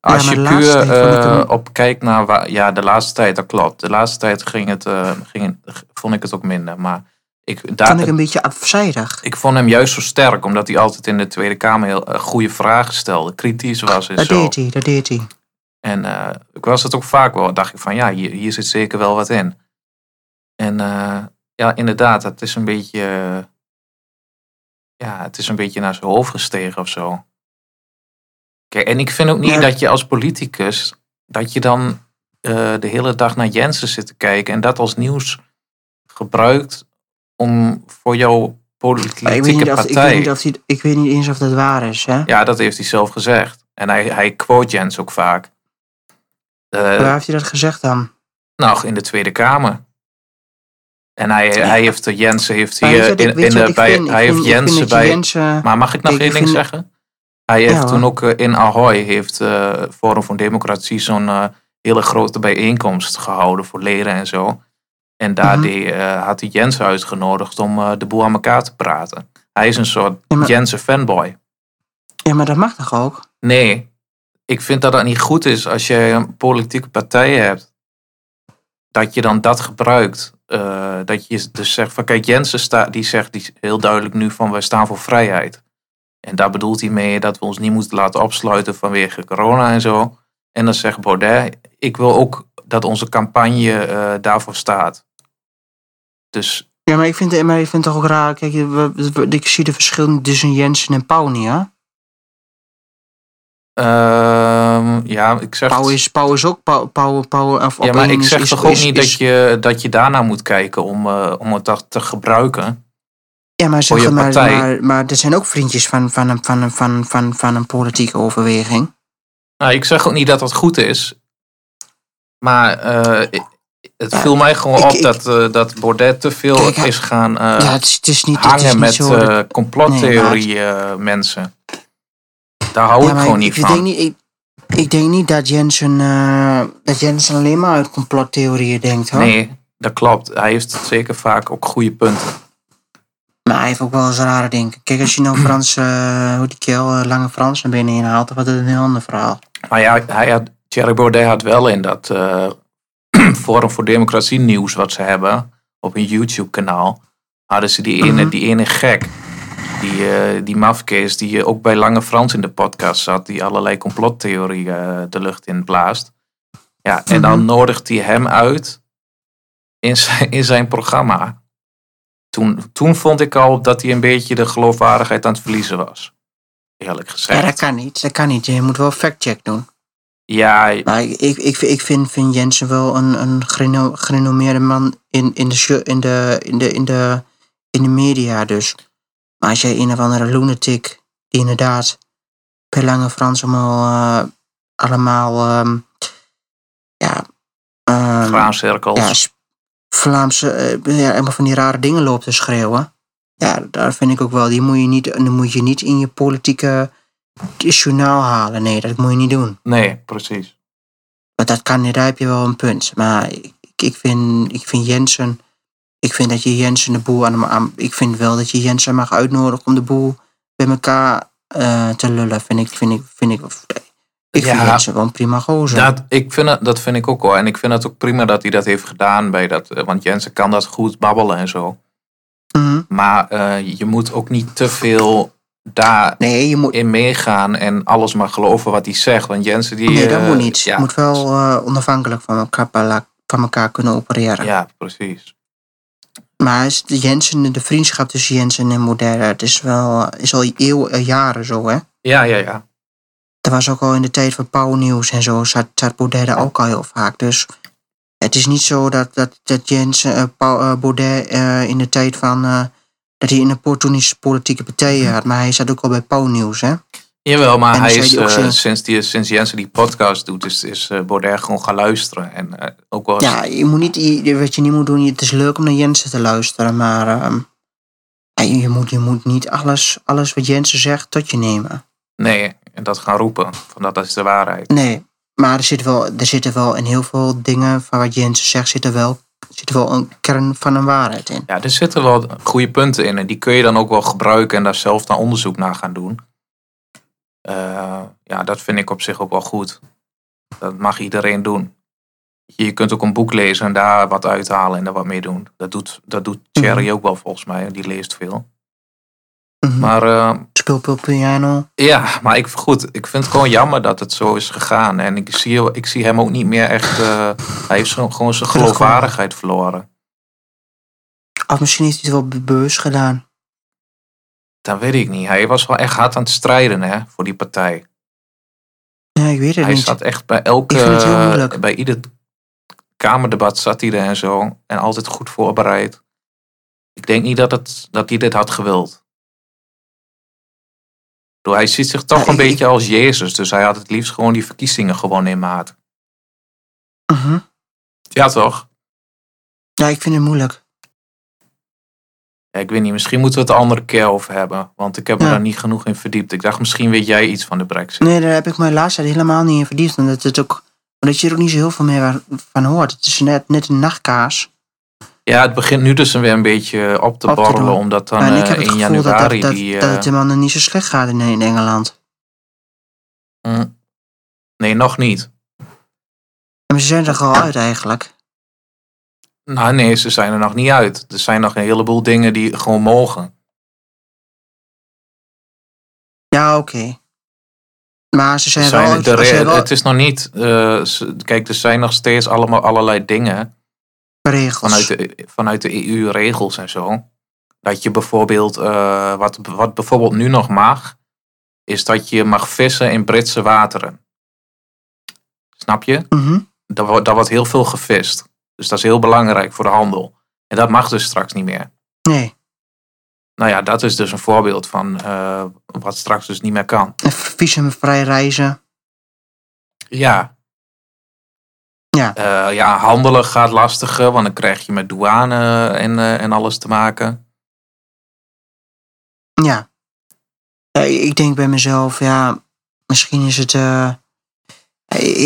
Als je
maar de laatste
puur
tijd vond ik
eh,
hem-
op kijkt naar waar, ja, de laatste tijd, dat klopt. De laatste tijd ging het, eh, ging, vond ik het ook minder. Maar ik, daar,
vond ik een beetje afzijdig.
ik vond hem juist zo sterk, omdat hij altijd in de Tweede Kamer heel eh, goede vragen stelde, kritisch was en
Dat
zo.
deed hij, dat deed hij.
En eh, ik was het ook vaak wel. Dacht ik van ja, hier, hier zit zeker wel wat in. En eh, ja, inderdaad, het is een beetje. eh, ja, het is een beetje naar zijn hoofd gestegen of zo. Kijk, en ik vind ook niet
Ja.
dat je als politicus. dat je dan eh, de hele dag naar Jensen zit te kijken. en dat als nieuws gebruikt. om voor jouw
Maar
politieke
ik, weet niet of, ik,
partij.
weet niet of hij, ik weet niet eens of dat waar is. Hè?
Ja, dat heeft hij zelf gezegd. En hij, hij quote Jens ook vaak. Eh,
Waar heeft hij dat gezegd dan?
nou, in de Tweede Kamer. En hij, hij heeft eh, Jensen heeft
Maar weet
hier
je wat ik-
in,
weet
in
je wat
de-
ik
bij
vind? Ik
hij heeft
vind- ik vind
Jensen
dat je
bij.
Jensen-
Maar mag ik nog
Kijk,
één
ik
ding
vind-
zeggen? Hij heeft
hoor.
toen ook eh, in Ahoy heeft eh, Forum voor Democratie zo'n eh, hele grote bijeenkomst gehouden voor leden en zo. En daar
Mhm.
deed, eh, had hij Jensen uitgenodigd om eh, de boel aan elkaar te praten. Hij is een soort
Ja, maar-
Jensen fanboy.
Ja, maar dat mag toch ook?
Nee, ik vind dat dat niet goed is als je een politieke partij hebt. Dat je dan dat gebruikt. Eh, dat je dus zegt van kijk, Jensen sta, die zegt die heel duidelijk nu van wij staan voor vrijheid. En daar bedoelt hij mee dat we ons niet moeten laten opsluiten vanwege corona en zo. En dan zegt Baudet, ik wil ook dat onze campagne eh, daarvoor staat. Dus
Ja, maar ik vind, maar ik vind het toch ook raar. Kijk, we- we- ik zie de verschillen tussen Jensen en Pauw niet, hè?
ehm, ja, ik zeg...
Pauw is, Pauw is ook Pauw. Pauw, Pauw of
Ja, maar
Opeen
ik
is-
zeg
is-
toch ook
is-
niet
is-
dat, je, dat je daarnaar moet kijken om, eh, om het dat te gebruiken.
Ja, maar,
voor je
zeg, maar,
partij.
maar, maar er zijn ook vriendjes van, van, een, van, een, van, van, van een politieke overweging.
Nou, ik zeg ook niet dat dat goed is. Maar eh, ik- het
Ja,
viel mij gewoon
ik-
op
ik-
dat, eh, dat Baudet te veel
Kijk, hij-
is gaan eh,
ja, het is, het is niet, het is
hangen
niet
met
zo. dat-
eh, complottheorie eh, mensen. Daar hou
ja,
ik
maar
gewoon
ik-
niet
ik
van.
Denk niet, ik, ik denk niet dat Jensen, eh, dat Jensen alleen maar uit complottheorieën denkt. Hoor.
Nee, dat klopt. Hij heeft zeker vaak ook goede punten.
Maar hij heeft ook wel eens rare dingen. Kijk, als je nou Frans, eh, hoe die kerel, eh, Lange Frans naar binnen inhaalt, dan wordt het een heel ander verhaal.
Maar ja, hij had, Thierry Baudet had wel in dat eh, Forum voor Democratie nieuws wat ze hebben op een YouTube kanaal, hadden ze die ene,
Mhm.
die ene gek, die, eh, die mafkees die eh, ook bij Lange Frans in de podcast zat, die allerlei complottheorieën eh, de lucht in blaast. Ja, en dan
Mhm.
nodigt hij hem uit in zijn, in zijn programma. Toen, toen vond ik al dat hij een beetje de geloofwaardigheid aan het verliezen was. eerlijk
Ja,
gezegd.
dat kan niet. Dat kan niet. Je moet wel fact-check doen.
Ja, ja,
Maar ik, ik, ik, ik vind, vind Jensen wel een, een gereno- gerenommeerde man in, in, de, show- in, de, in, de, in, de, in de media dus. Maar als jij een of andere lunatic die inderdaad per lange Frans allemaal, eh, allemaal ehm, ja, ehm,
graancirkels.
ja, Sp- Vlaamse, eh, ja, helemaal van die rare dingen loopt te schreeuwen. Ja, daar vind ik ook wel. Die moet je niet, die moet je niet in je politieke journaal halen. Nee, dat moet je niet doen.
Nee, precies.
Want dat kan, daar heb je wel een punt. Maar ik, ik, vind, ik vind Jensen. Ik vind dat je Jensen de boel aan, aan. Ik vind wel dat je Jensen mag uitnodigen om de boel bij elkaar eh, te lullen. Vind ik, vind ik, vind ik, ik vind
Ja.
Jensen wel een prima gozer.
Dat, ik vind het, dat vind ik ook hoor. En ik vind het ook prima dat hij dat heeft gedaan. Bij dat, eh, want Jensen kan dat goed babbelen en zo.
Mhm.
Maar eh, je moet ook niet te veel daarin
Nee, je moet,
meegaan en alles maar geloven wat hij zegt. Want Jensen die...
Nee, dat
eh,
moet niet.
Ja,
Je moet wel eh, onafhankelijk van elkaar, bala- van elkaar kunnen opereren.
ja precies.
Maar is de, Jensen, de vriendschap tussen Jensen en Modera, het is, wel, eh, is al eeuwen, eh, jaren zo, hè?
Ja, ja, ja.
Dat was ook al in de tijd van Pauw Nieuws en zo, zat, zat Baudet daar ook al heel vaak. Dus het is niet zo dat, dat, dat Jensen, eh, Pau- eh, Baudet eh, in de tijd van... eh, dat hij een opportunistische politieke partij had. Maar hij zat ook al bij Pauw Nieuws, hè?
Jawel, maar
En
hij
dan
is,
zei hij ook
eh,
zo-
sinds, die, sinds Jensen die podcast doet, is, is eh, Baudet gewoon gaan luisteren. En eh, ook wel eens-
Ja, je moet niet, je- wat je niet moet doen, het is leuk om naar Jensen te luisteren, maar ehm, ja, je, je moet, je moet niet alles, alles wat Jensen zegt tot je nemen.
Nee, en dat gaan roepen. Van dat, dat is de waarheid.
Nee, maar er, zit wel, er zitten wel in heel veel dingen van wat Jensen zegt, zit er wel, zit er wel een kern van een waarheid in.
Ja, er zitten wel goede punten in. En die kun je dan ook wel gebruiken en daar zelf dan onderzoek naar gaan doen. Eh, ja, dat vind ik op zich ook wel goed. Dat mag iedereen doen. Je kunt ook een boek lezen en daar wat uithalen en daar wat mee doen. Dat doet, dat doet Thierry ook wel volgens mij. Die leest veel.
Mhm.
Maar eh,
Speel veel piano.
ja, maar ik, goed, ik vind het gewoon jammer dat het zo is gegaan. En ik zie, ik zie hem ook niet meer echt... eh, hij heeft zo- gewoon zijn
Terugkomen.
geloofwaardigheid verloren.
Of misschien heeft hij het wel be- bewust gedaan.
Dat weet ik niet. Hij was wel echt hard aan het strijden hè, voor die partij.
Ja, ik weet het
Hij
niet.
zat echt bij
Ik vind het heel
elke,
moeilijk.
bij ieder kamerdebat zat hij er en zo. En altijd goed voorbereid. Ik denk niet dat, het, dat hij dit had gewild. Door- Hij ziet zich toch
Ja,
een
ik-
beetje als Jezus. Dus hij had het liefst gewoon die verkiezingen gewoon in maat.
Mhm.
Ja, toch?
Ja, ik vind het moeilijk.
Ja, ik weet niet, misschien moeten we het een andere keer over hebben. Want ik heb me
Ja.
daar niet genoeg in verdiept. Ik dacht, misschien weet jij iets van de brexit.
Nee, daar heb ik me laatst helemaal niet in verdiept. Omdat, het ook, omdat je er ook niet zo heel veel meer wa- van hoort. Het is net, net een nachtkaas.
Ja, het begint nu dus weer een beetje op te
Op te
borrelen.
doen.
omdat dan
Maar
eh,
ik heb het
in
gevoel dat,
januari
dat, dat,
die...
dat
eh,
het de mannen niet zo slecht gaat in, in Engeland.
Nee, nog niet.
En ze zijn er al uit eigenlijk.
Nou nee, ze zijn er nog niet uit. Er zijn nog een heleboel dingen die gewoon mogen.
Ja, oké. Maar ze zijn,
Zijn
wel,
de
uit, ze
re-
zijn wel
Het is nog niet... eh, ze- kijk, er zijn nog steeds allemaal allerlei dingen
regels.
vanuit de, vanuit de EU-regels en zo. Dat je bijvoorbeeld... eh, wat, wat bijvoorbeeld nu nog mag, is dat je mag vissen in Britse wateren. Snap je?
Mhm.
Daar wordt, daar wordt heel veel gevist. Dus dat is heel belangrijk voor de handel. En dat mag dus straks niet meer.
Nee,
Nou ja, dat is dus een voorbeeld van eh, wat straks dus niet meer kan.
en visumvrij reizen.
Ja.
Ja.
Eh, ja, handelen gaat lastiger, want dan krijg je met douane en, eh, en alles te maken.
Ja. Ja, Ik denk bij mezelf, ja, misschien is het... eh,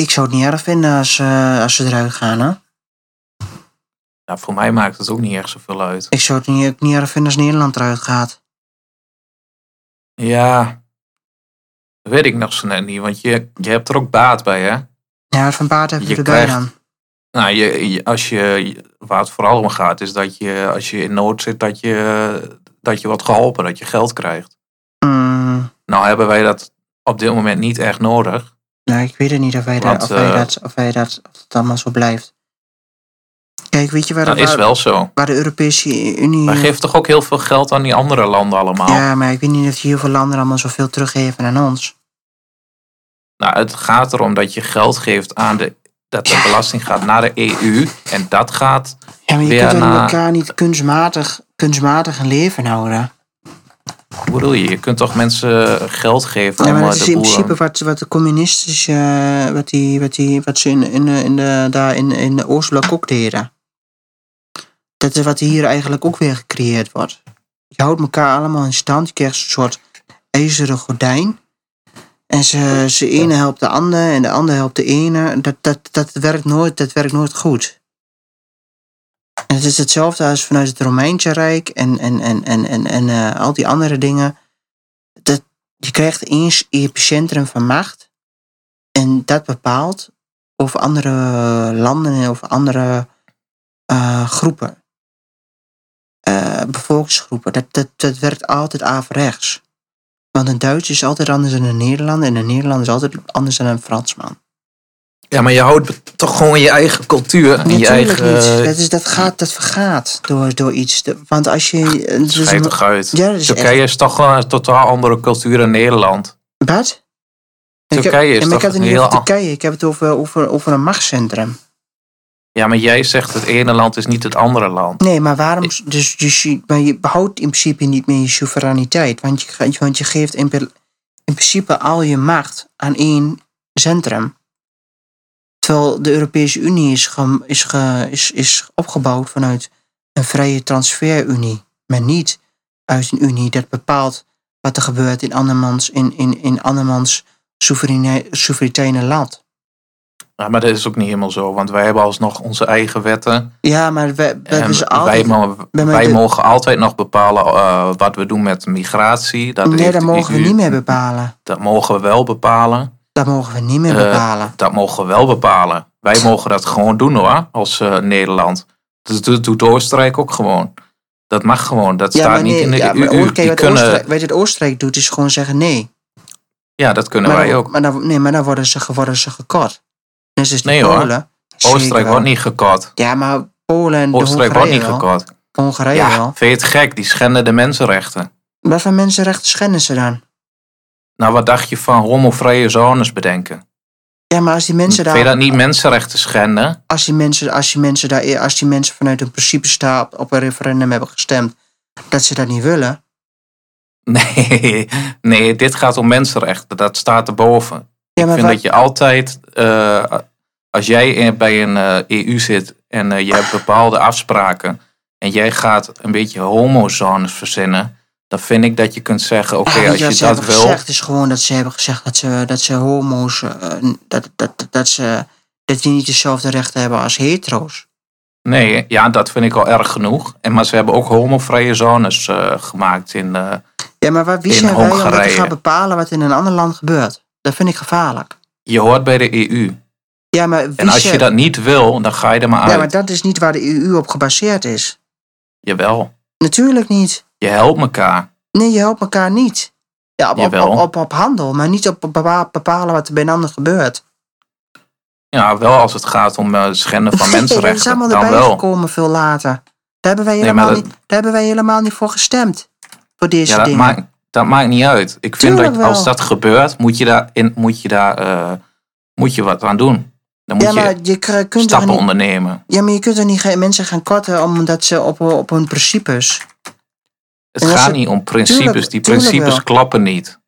ik zou het niet erg vinden als, eh, als ze eruit gaan, hè.
Nou, voor mij maakt het ook niet echt zoveel uit.
Ik zou het niet, ook niet erg vinden als Nederland eruit gaat.
Ja. Dat weet ik nog zo net niet, want je, je hebt er ook baat bij, hè?
Ja, van baat heb je,
Je
erbij
krijgt-
dan.
Nou, je, je- als je, waar het vooral om gaat, is dat je als je in nood zit, dat je, dat je wordt geholpen, dat je geld krijgt.
Mm.
Nou hebben wij dat op dit moment niet echt nodig.
Nou, ik weet het niet of wij, daar-
Want,
of wij,
eh,
dat, of wij dat, of het allemaal zo blijft. Kijk, weet je waar,
Dat Nou, is
waar,
wel zo.
waar de Europese Unie...
Maar geeft toch ook heel veel geld aan die andere landen allemaal?
Ja, maar ik weet niet of heel veel landen allemaal zoveel teruggeven aan ons.
Nou, het gaat erom dat je geld geeft aan de. dat de
Ja.
belasting gaat naar de EU. En dat gaat.
Ja, maar je
Weer
kunt aan
na-
elkaar niet kunstmatig, kunstmatig een leven houden.
Hoe bedoel je? Je kunt toch mensen geld geven
Ja,
om
maar
eh,
dat
de
is in
boeren-
principe wat, wat de communistische, eh, wat, die, wat, die, wat ze in, in, de- in de, daar in, in de Oostblok ook deden. Dat is wat hier eigenlijk ook weer gecreëerd wordt. Je houdt elkaar allemaal in stand, je krijgt een soort ijzeren gordijn. En ze, ze ene helpt de ander en de ander helpt de ene. Dat, dat, dat, werkt, nooit, dat werkt nooit goed. En het is hetzelfde als vanuit het Romeinse Rijk en, en, en, en, en, en eh, al die andere dingen je krijgt één s- epicentrum van macht. En dat bepaalt of andere landen en of andere eh, groepen, eh, bevolkingsgroepen, dat, dat, dat werkt altijd averechts. Want een Duits is altijd anders dan een Nederlander en een Nederlander is altijd anders dan een Fransman.
Ja, maar je houdt be- toch gewoon je eigen cultuur en je
Natuurlijk
eigen.
niet. Dat, is, dat, gaat, dat vergaat door, door iets. De- Want als je. eh, dus-
Schijt toch uit.
Ja, dat is echt-
Ah, Turkije is toch een totaal andere cultuur dan Nederland.
Wat? Ik heb-
Turkije is
ja,
toch
maar ik heb het
een
niet
heel
over
an-
Turkije, ik heb het over, over, over een machtscentrum.
Ja, maar jij zegt het ene land is niet het andere land.
Nee, maar waarom? Dus, dus je, maar je behoudt in principe niet meer je soevereiniteit. Want je, ge- want je geeft in, pe- in principe al je macht aan één centrum. Terwijl de Europese Unie is, ge- is, ge- is, is opgebouwd vanuit een vrije transferunie. Maar niet uit een unie dat bepaalt wat er gebeurt in andermans, in, in, in andermans soevereine, soevereine land.
Ja, maar dat is ook niet helemaal zo, want wij hebben alsnog onze eigen wetten.
Ja, maar we, we
En
hebben ze altijd...
wij, mo-
bij mij
wij
de-
mogen altijd nog bepalen eh, wat we doen met migratie. Dat
nee,
heeft
dat
de
mogen we
EU.
niet meer bepalen.
Dat mogen we wel bepalen.
Dat mogen we niet meer
Eh,
bepalen.
Dat mogen we wel bepalen. Wij mogen dat gewoon doen hoor, als eh, Nederland. Dat dat doet Oostenrijk ook gewoon. Dat mag gewoon. Dat staat niet in de
ja, maar
EU.
oké,
Die
wat,
kunnen,
Oostenrijk, weet je, wat Oostenrijk doet, is gewoon zeggen nee.
ja, dat kunnen
maar
wij
dan,
ook.
Maar dan, nee, maar dan worden ze, worden ze gekort. Dus is die
Nee, hoor.
Polen. zeker
Oostenrijk
wel.
wordt niet gekort.
Ja, maar Polen en de
Oostenrijk wordt
Hongarije
niet
wel.
gekort.
Hongarije
Ja,
wel.
vind je het gek? Die schenden de mensenrechten.
Wat voor mensenrechten schenden ze dan?
Nou, wat dacht je van homovrije zones bedenken?
Ja, maar als die mensen
Vind je
daar,
dat niet mensenrechten schenden?
als die mensen, als die mensen daar, als die mensen vanuit een principe staat op een referendum hebben gestemd, dat ze dat niet willen.
Nee, nee, dit gaat om mensenrechten. Dat staat erboven.
Ja, maar
Ik vind
wat,
dat je altijd, eh, als jij in- bij een eh, EU zit en eh, je hebt bepaalde afspraken en jij gaat een beetje homozones verzinnen, dan vind ik dat je kunt zeggen, oké,
Ja, weet
als
wat
je
ze
dat
hebben
wil,
gezegd is gewoon dat ze hebben gezegd dat ze, dat ze homo's, eh, dat, dat, dat, dat ze dat die niet dezelfde rechten hebben als hetero's.
nee, ja, dat vind ik al erg genoeg. En, maar ze hebben ook homovrije zones eh, gemaakt in, eh,
Ja, maar waar- wie
In
zijn wij om dat te
Hongarije.
gaan bepalen wat in een ander land gebeurt? Dat vind ik gevaarlijk.
je hoort bij de EU.
Ja, maar wie
En als je
zijn-
dat niet wil, dan ga je er maar uit.
ja, maar dat is niet waar de EU op gebaseerd is.
Jawel,
Natuurlijk niet.
je helpt elkaar.
Nee, je helpt elkaar niet. Ja, op, op,
Jawel.
op, op, op handel, maar niet op bepa- bepalen wat er bij een ander gebeurt.
Ja, wel als het gaat om eh, schenden van
dat is
mensenrechten,
allemaal
dan
erbij
wel.
gekomen veel later. Daar hebben, wij
Nee,
helemaal
maar dat-
niet, daar hebben wij helemaal niet voor gestemd. Voor deze
Ja, dat
dingen.
maakt, dat maakt niet uit. Ik vind
Tuurlijk
dat als
wel.
dat gebeurt, moet je daar, in, moet je daar eh, moet je wat aan doen. Dan moet
ja,
je
maar je, k- kunt er
stappen
niet,
ondernemen.
ja, maar je kunt er niet ge- mensen gaan korten omdat ze op, op hun principes.
Het
En als
gaat
het-
niet om principes.
Tuurlijk-
die
tuurlijk
principes
wel.
klappen niet.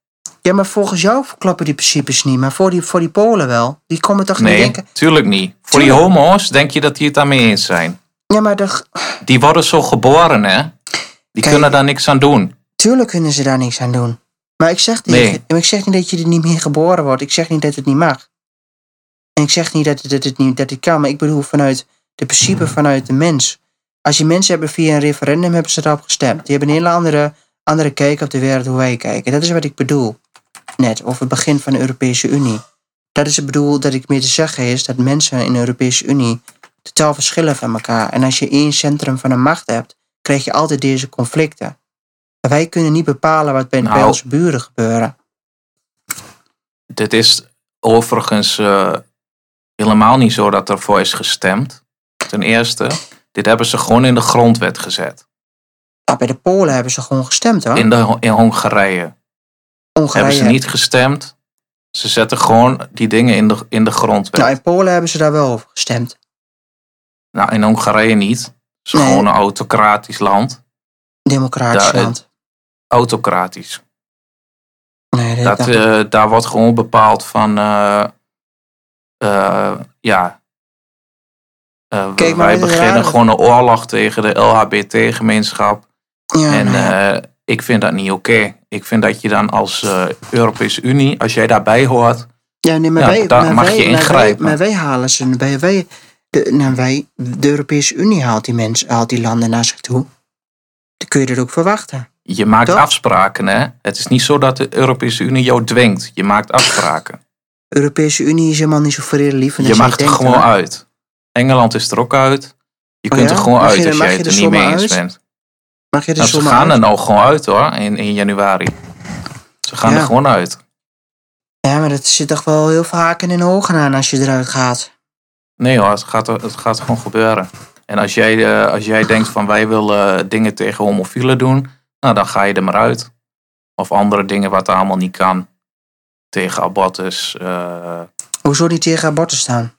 Ja, maar volgens jou kloppen die principes niet, maar voor die, voor die Polen wel. Die komen toch
Nee,
niet denken.
tuurlijk niet. Voor die
Tuurlijk.
homo's denk je dat die het daarmee eens zijn.
Ja, maar de,
Die worden zo geboren, hè? Die
Kijk.
kunnen daar niks aan doen.
tuurlijk kunnen ze daar niks aan doen. Maar ik zeg, tegen,
Nee.
maar ik zeg niet dat je er niet meer geboren wordt. Ik zeg niet dat het niet mag. En ik zeg niet dat het, dat het, niet, dat het kan, maar ik bedoel vanuit de principe vanuit de mens. Als je mensen hebben via een referendum, hebben ze daarop gestemd. Die hebben een hele andere, andere kijk op de wereld hoe wij kijken. Dat is wat ik bedoel. Net, over het begin van de Europese Unie. Dat is het bedoel dat ik meer te zeggen is dat mensen in de Europese Unie totaal verschillen van elkaar. En als je één centrum van de macht hebt, krijg je altijd deze conflicten. Maar wij kunnen niet bepalen wat bij, bij
Nou.
onze buren gebeuren.
Dit is overigens eh, helemaal niet zo dat ervoor is gestemd. ten eerste. Dit hebben ze gewoon in de grondwet gezet.
Ja, Nou, bij de Polen hebben ze gewoon gestemd hoor.
In, de, Ho- in Hongarije.
Hongarije.
Hebben ze niet gestemd. Ze zetten gewoon die dingen in de, in de grondwet.
Nou, in Polen hebben ze daar wel over gestemd.
Nou, in Hongarije niet. Het is
Nee.
gewoon een autocratisch land.
Democratisch
Daar, eh,
land.
Autocratisch.
Nee, dat,
Dat,
dat-
eh, daar wordt gewoon bepaald van... eh, eh, ja... Eh, we-
Kijk, maar
wij
het rare-
beginnen gewoon een oorlog tegen de LHBT-gemeenschap.
ja,
en
nee.
eh, ik vind dat niet oké. Ik vind dat je dan als eh, Europese Unie, als jij daarbij hoort...
Ja, nee, maar
Ja,
wij,
daar
maar
mag
wij-
je
maar wij-
ingrijpen.
Maar wij halen ze, wij, wij, de, nou, wij, de Europese Unie haalt die, mensen, haalt die landen naar zich toe. Dan kun je dat ook verwachten.
Je maakt
Toch?
afspraken, hè? Het is niet zo dat de Europese Unie jou dwingt. Je maakt afspraken.
De Europese Unie is helemaal niet zo vredelievend.
je
als
mag er
denkt,
gewoon
hoor.
uit. Engeland is er ook uit. Je
Oh
kunt
ja?
er gewoon
Mag je-
uit als
mag
jij
je
het
er
er niet mee
zomaar
eens
uit?
bent.
Mag je er
Nou, ze
zomaar
gaan
uit?
er nou gewoon uit, hoor, in, in januari. Ze gaan
Ja.
er gewoon uit.
Ja, maar dat zit toch wel heel veel haken en ogen aan als je eruit gaat.
Nee hoor, het gaat, er- het gaat gewoon gebeuren. En als jij, eh, als jij denkt van wij willen eh, dingen tegen homofielen doen, nou dan ga je er maar uit. Of andere dingen wat er allemaal niet kan. Tegen abortus. eh, nou,
Hoezo niet tegen abortus staan?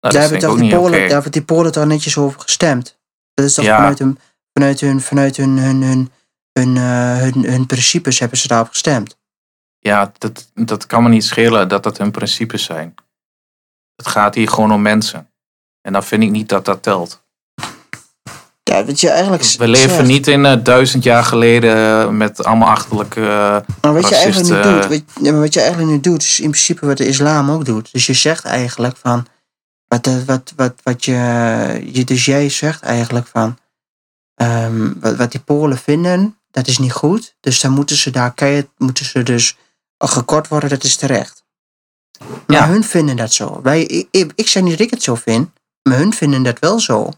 dat
daar,
vind
hebben
ik ook
toch die
niet
Polen,
oké.
daar hebben die Polen toch netjes over gestemd? Dat is toch
Ja.
vanuit, hun, vanuit, hun, vanuit hun, hun, hun, hun, eh, hun, hun principes hebben ze daarop gestemd.
Ja, dat, dat kan me niet schelen dat dat hun principes zijn. Het gaat hier gewoon om mensen. En dan vind ik niet dat dat telt.
Ja, weet je, eigenlijk...
We leven
zegt-
niet in eh, duizend jaar geleden eh, met allemaal achterlijke... eh,
Maar wat je
racist,
eigenlijk nu
eh,
doet, wat, ja, maar wat je eigenlijk nu doet, is in principe wat de islam ook doet. Dus je zegt eigenlijk van, wat, eh, wat, wat, wat je, je, dus jij zegt eigenlijk van, ehm, wat, wat die Polen vinden, dat is niet goed. Dus dan moeten ze daar keihard, moeten ze dus gekort worden, dat is terecht. Maar
Ja.
hun vinden dat zo. Wij, ik, ik, ik zeg niet dat ik het zo vind, maar hun vinden dat wel zo.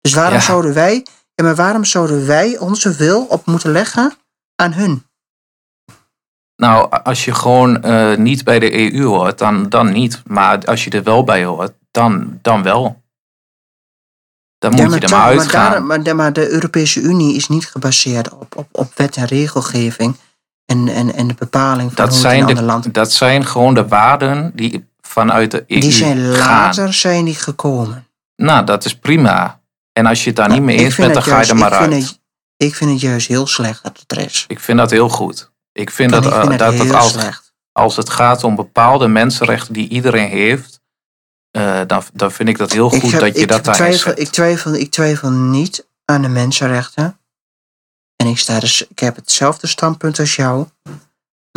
Dus waarom
Ja.
zouden wij, ja, maar waarom zouden wij onze wil op moeten leggen aan hun?
nou, a- als je gewoon eh, niet bij de EU hoort, dan, dan niet. Maar als je er wel bij hoort, dan, dan wel. Dan moet je er
toch,
maar
maar,
uitgaan.
daar- maar, de- maar de Europese Unie is niet gebaseerd op, op, op wet en regelgeving en, en, en de bepaling van
dat,
hoe het in
zijn
een ander land...
de, dat zijn gewoon de waarden die vanuit de EU
Die zijn
gaan.
later zijn die gekomen.
Nou, dat is prima. En als je het daar niet mee
Ik
eens
vind
bent, dan
het
ga je
juist-
er maar uit.
ik vind het- ik vind het juist heel slecht dat het er is.
Ik vind dat heel goed. Ik vind dat,
ik
eh,
vind het
dat, dat
heel
als,
slecht.
als het gaat om bepaalde mensenrechten die iedereen heeft, eh, dan, dan vind ik dat heel
Ik
goed
heb-
dat je
ik
dat daarin
twijfel,
zet.
ik, twijfel, ik twijfel niet aan de mensenrechten. En ik, sta dus, ik heb hetzelfde standpunt als jou.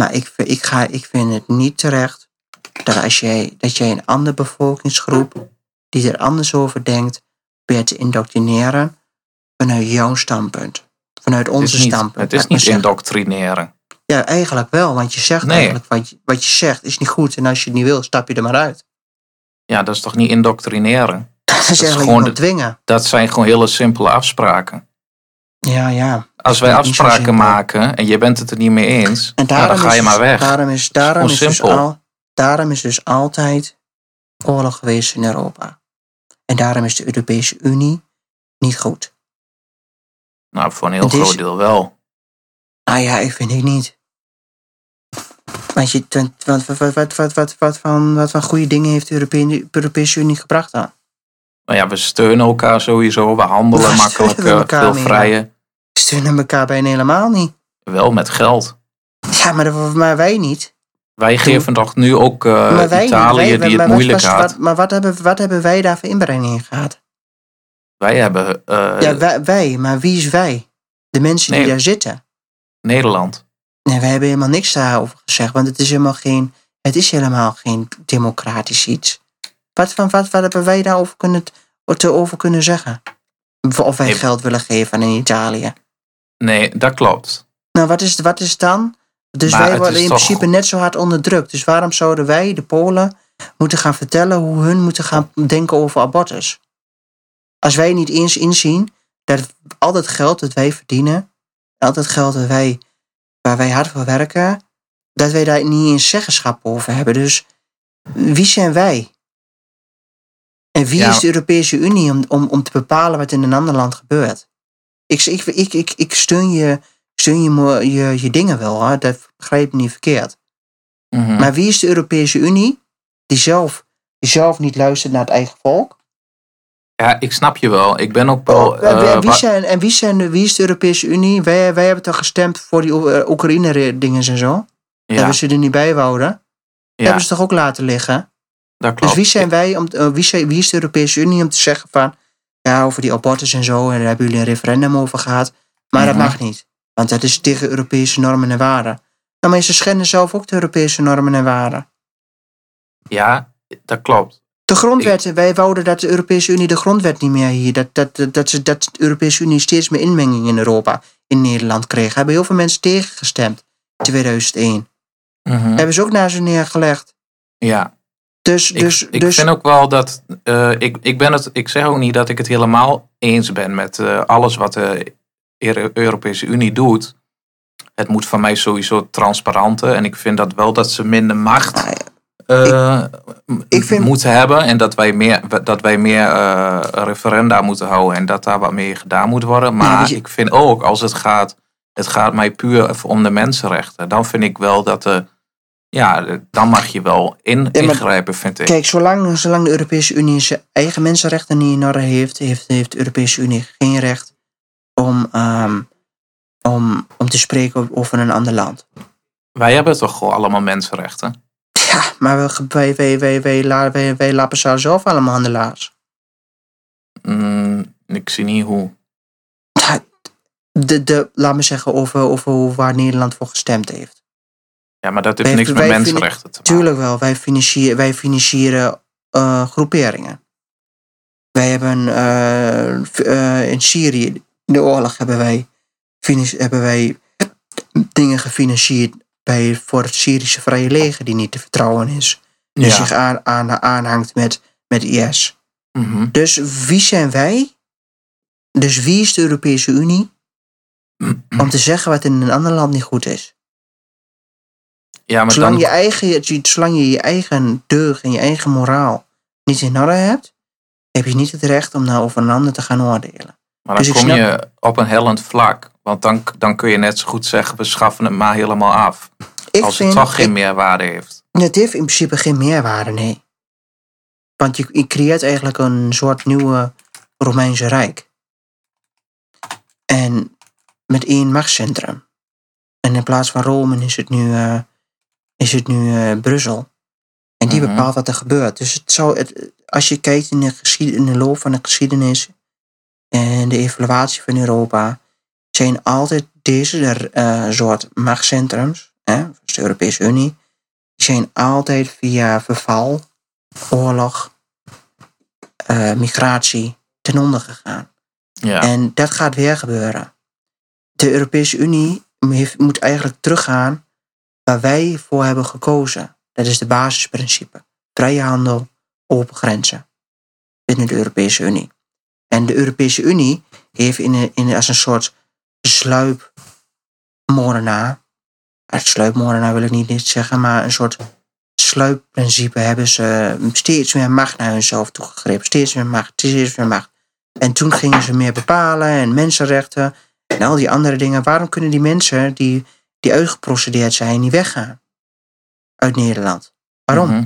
Maar ik, vind- ik, ga, ik vind het niet terecht dat, als jij, dat jij een andere bevolkingsgroep die er anders over denkt, probeert te indoctrineren vanuit jouw standpunt. Vanuit
Het
onze
is niet,
standpunt.
het is
laat maar
niet
zeggen.
indoctrineren.
Ja, eigenlijk wel, want je zegt
Nee.
eigenlijk wat je, wat je zegt is niet goed. En als je het niet wil, stap je er maar uit.
Ja, dat is toch niet indoctrineren?
Dat is, eigenlijk
gewoon
gewoon
de-
dwingen.
Dat zijn gewoon hele simpele afspraken.
Ja, ja.
Als wij
vind het niet zo
afspraken
simpel.
maken en je bent het er niet mee eens,
En
nou,
daarom
dan ga
is
je
dus-
maar weg.
Daarom is, daarom
Gewoon
is, dus,
simpel.
al, daarom is dus altijd oorlog geweest in Europa. En daarom is de Europese Unie niet goed.
Nou, voor een heel
Het is-
groot deel wel.
Nou ja, ik vind het niet. Want je, wat, wat, wat, wat, wat, wat, wat, van, wat van goede dingen heeft de Europee- Europese Unie gebracht dan?
Maar ja, we steunen elkaar sowieso. We handelen
Waar steunen
makkelijk,
we
eh,
elkaar
veel
mee?
vrijer.
Ze steunen elkaar bijna helemaal niet.
Wel met geld.
Ja, maar, dat- maar wij niet.
Wij geven toch nu ook eh,
maar wij
Italië
niet. Wij-
die
maar
het
wat
moeilijk
was-
had.
wat- maar wat hebben, wat hebben wij daar voor inbreng in gehad?
Wij hebben eh,
ja, wij, wij, maar wie is wij? De mensen
Nee.
die daar zitten.
Nederland.
Nee, wij hebben helemaal niks daarover gezegd, want het is helemaal geen, het is helemaal geen democratisch iets. Wat, van, wat, wat hebben wij daarover kunnen, te over kunnen zeggen? Of- Of wij
Nee.
geld willen geven aan Italië.
Nee, dat klopt.
Nou, wat is, wat is dan? Dus
Maar
wij
het
worden
is
in
toch-
principe net zo hard onderdrukt. Dus waarom zouden wij, de Polen, moeten gaan vertellen hoe hun moeten gaan denken over abortus? Als wij niet eens inzien dat al dat geld dat wij verdienen, al dat geld dat wij, waar wij hard voor werken, dat wij daar niet eens zeggenschap over hebben. Dus wie zijn wij? En wie
Ja.
is de Europese Unie om, om, om te bepalen wat in een ander land gebeurt? Ik, ik, ik, ik, ik steun, je, steun je, mo- je, je dingen wel, hoor. dat begrijp ik niet verkeerd.
Mhm.
Maar wie is de Europese Unie die zelf, die zelf niet luistert naar het eigen volk?
Ja, ik snap je wel. Ik ben ook wel...
en, wie-
eh,
en wie
wa-
zijn, en wie, zijn, de- wie is de Europese Unie? Wij, wij hebben toch gestemd voor die Oe- eh, Oekraïne-dingen en zo?
ja,
Hebben ze er niet bij wouden?
ja, Oh,
Hebben ze toch ook laten liggen?
dat klopt.
Dus wie zijn wij, om, eh, wie, zijn, wie is de Europese Unie om te zeggen van, ja, over die abortus en zo, en daar hebben jullie een referendum over gehad, maar
Mhm.
dat mag niet. Want dat is tegen Europese normen en waarden. Nou, maar ze schenden zelf ook de Europese normen en waarden.
Ja, dat klopt.
De grondwet, wij wouden dat de Europese Unie de grondwet niet meer hier, dat, dat, dat, dat, ze- dat de Europese Unie steeds meer inmenging in Europa, in Nederland kreeg. Daar hebben heel veel mensen tegengestemd in 2001.
Mhm.
Hebben ze ook naar ze neergelegd.
Ja,
Dus,
Ik,
dus,
ik
dus
vind ook wel dat. eh, ik, ik, ben het, ik zeg ook niet dat ik het helemaal eens ben met eh, alles wat de Euro- Europese Unie doet. Het moet van mij sowieso transparanter. En ik vind dat wel dat ze minder macht
Nou
eh, m-
ik vind-
moeten hebben. En dat wij meer, dat wij meer eh, referenda moeten houden. En dat daar wat meer gedaan moet worden. Maar
weet dus je-
ik vind ook als het gaat. Het gaat mij puur om de mensenrechten. Dan vind ik wel dat de. Ja, dan mag je wel in,
maar-
ingrijpen, vind ik.
Kijk, zolang, zolang de Europese Unie zijn eigen mensenrechten niet in orde heeft, heeft, heeft de Europese Unie geen recht om, ehm, om, om te spreken over een ander land.
Wij hebben toch gewoon allemaal mensenrechten?
Ja, maar we, wij, wij, wij, wij, la- wij, wij lappen ze zelf allemaal handelaars.
Mm, ik zie niet hoe.
De, de, laat me zeggen over, over waar Nederland voor gestemd heeft.
Ja, maar dat heeft
Wij-
niks met
wij
mensenrechten te maken.
Tuurlijk wel, wij financieren, wij financieren eh, groeperingen. Wij hebben eh, v- eh, in Syrië, de oorlog, hebben wij, finan- hebben wij dingen gefinancierd bij, voor het Syrische Vrije Leger, die niet te vertrouwen is. Die
Ja.
zich aan, aan, aanhangt met, met IS.
Mhm.
Dus wie zijn wij? Dus wie is de Europese Unie
Hm.
om te zeggen wat in een ander land niet goed is?
Ja, maar
Zolang
dan,
je, eigen, zolang je je eigen deugd en je eigen moraal niet in orde hebt, heb je niet het recht om nou over een ander te gaan oordelen.
maar dan
dus ik
kom
snap-
je op een hellend vlak. Want dan, dan kun je net zo goed zeggen, we schaffen het maar helemaal af.
Ik
als
vind,
het toch geen
ik-
meerwaarde heeft.
het heeft in principe geen meerwaarde, nee. Want je, je creëert eigenlijk een soort nieuwe Romeinse Rijk. En met één machtscentrum. En in plaats van Rome is het nu, eh, is het nu eh, Brussel. En die
Mhm.
bepaalt wat er gebeurt. Dus het zou, het, als je kijkt in de, geschied, in de loop van de geschiedenis en de evaluatie van Europa, zijn altijd deze eh, soort machtscentrums, hè, dus de Europese Unie, die zijn altijd via verval, oorlog, eh, migratie ten onder gegaan.
Ja.
En dat gaat weer gebeuren. De Europese Unie heeft- moet eigenlijk teruggaan waar wij voor hebben gekozen. Dat is de basisprincipe. Vrije handel, open grenzen binnen de Europese Unie. En de Europese Unie heeft in, een- in, als een soort sluipmoordenaar, uit sluipmoordenaar wil ik niet niet zeggen, maar een soort sluipprincipe hebben ze steeds meer macht naar hunzelf toegegrepen. Steeds meer macht, steeds meer macht. En toen gingen ze meer bepalen en mensenrechten en al die andere dingen. Waarom kunnen die mensen die, die uitgeprocedeerd zijn niet weggaan uit Nederland? Waarom?
Mhm.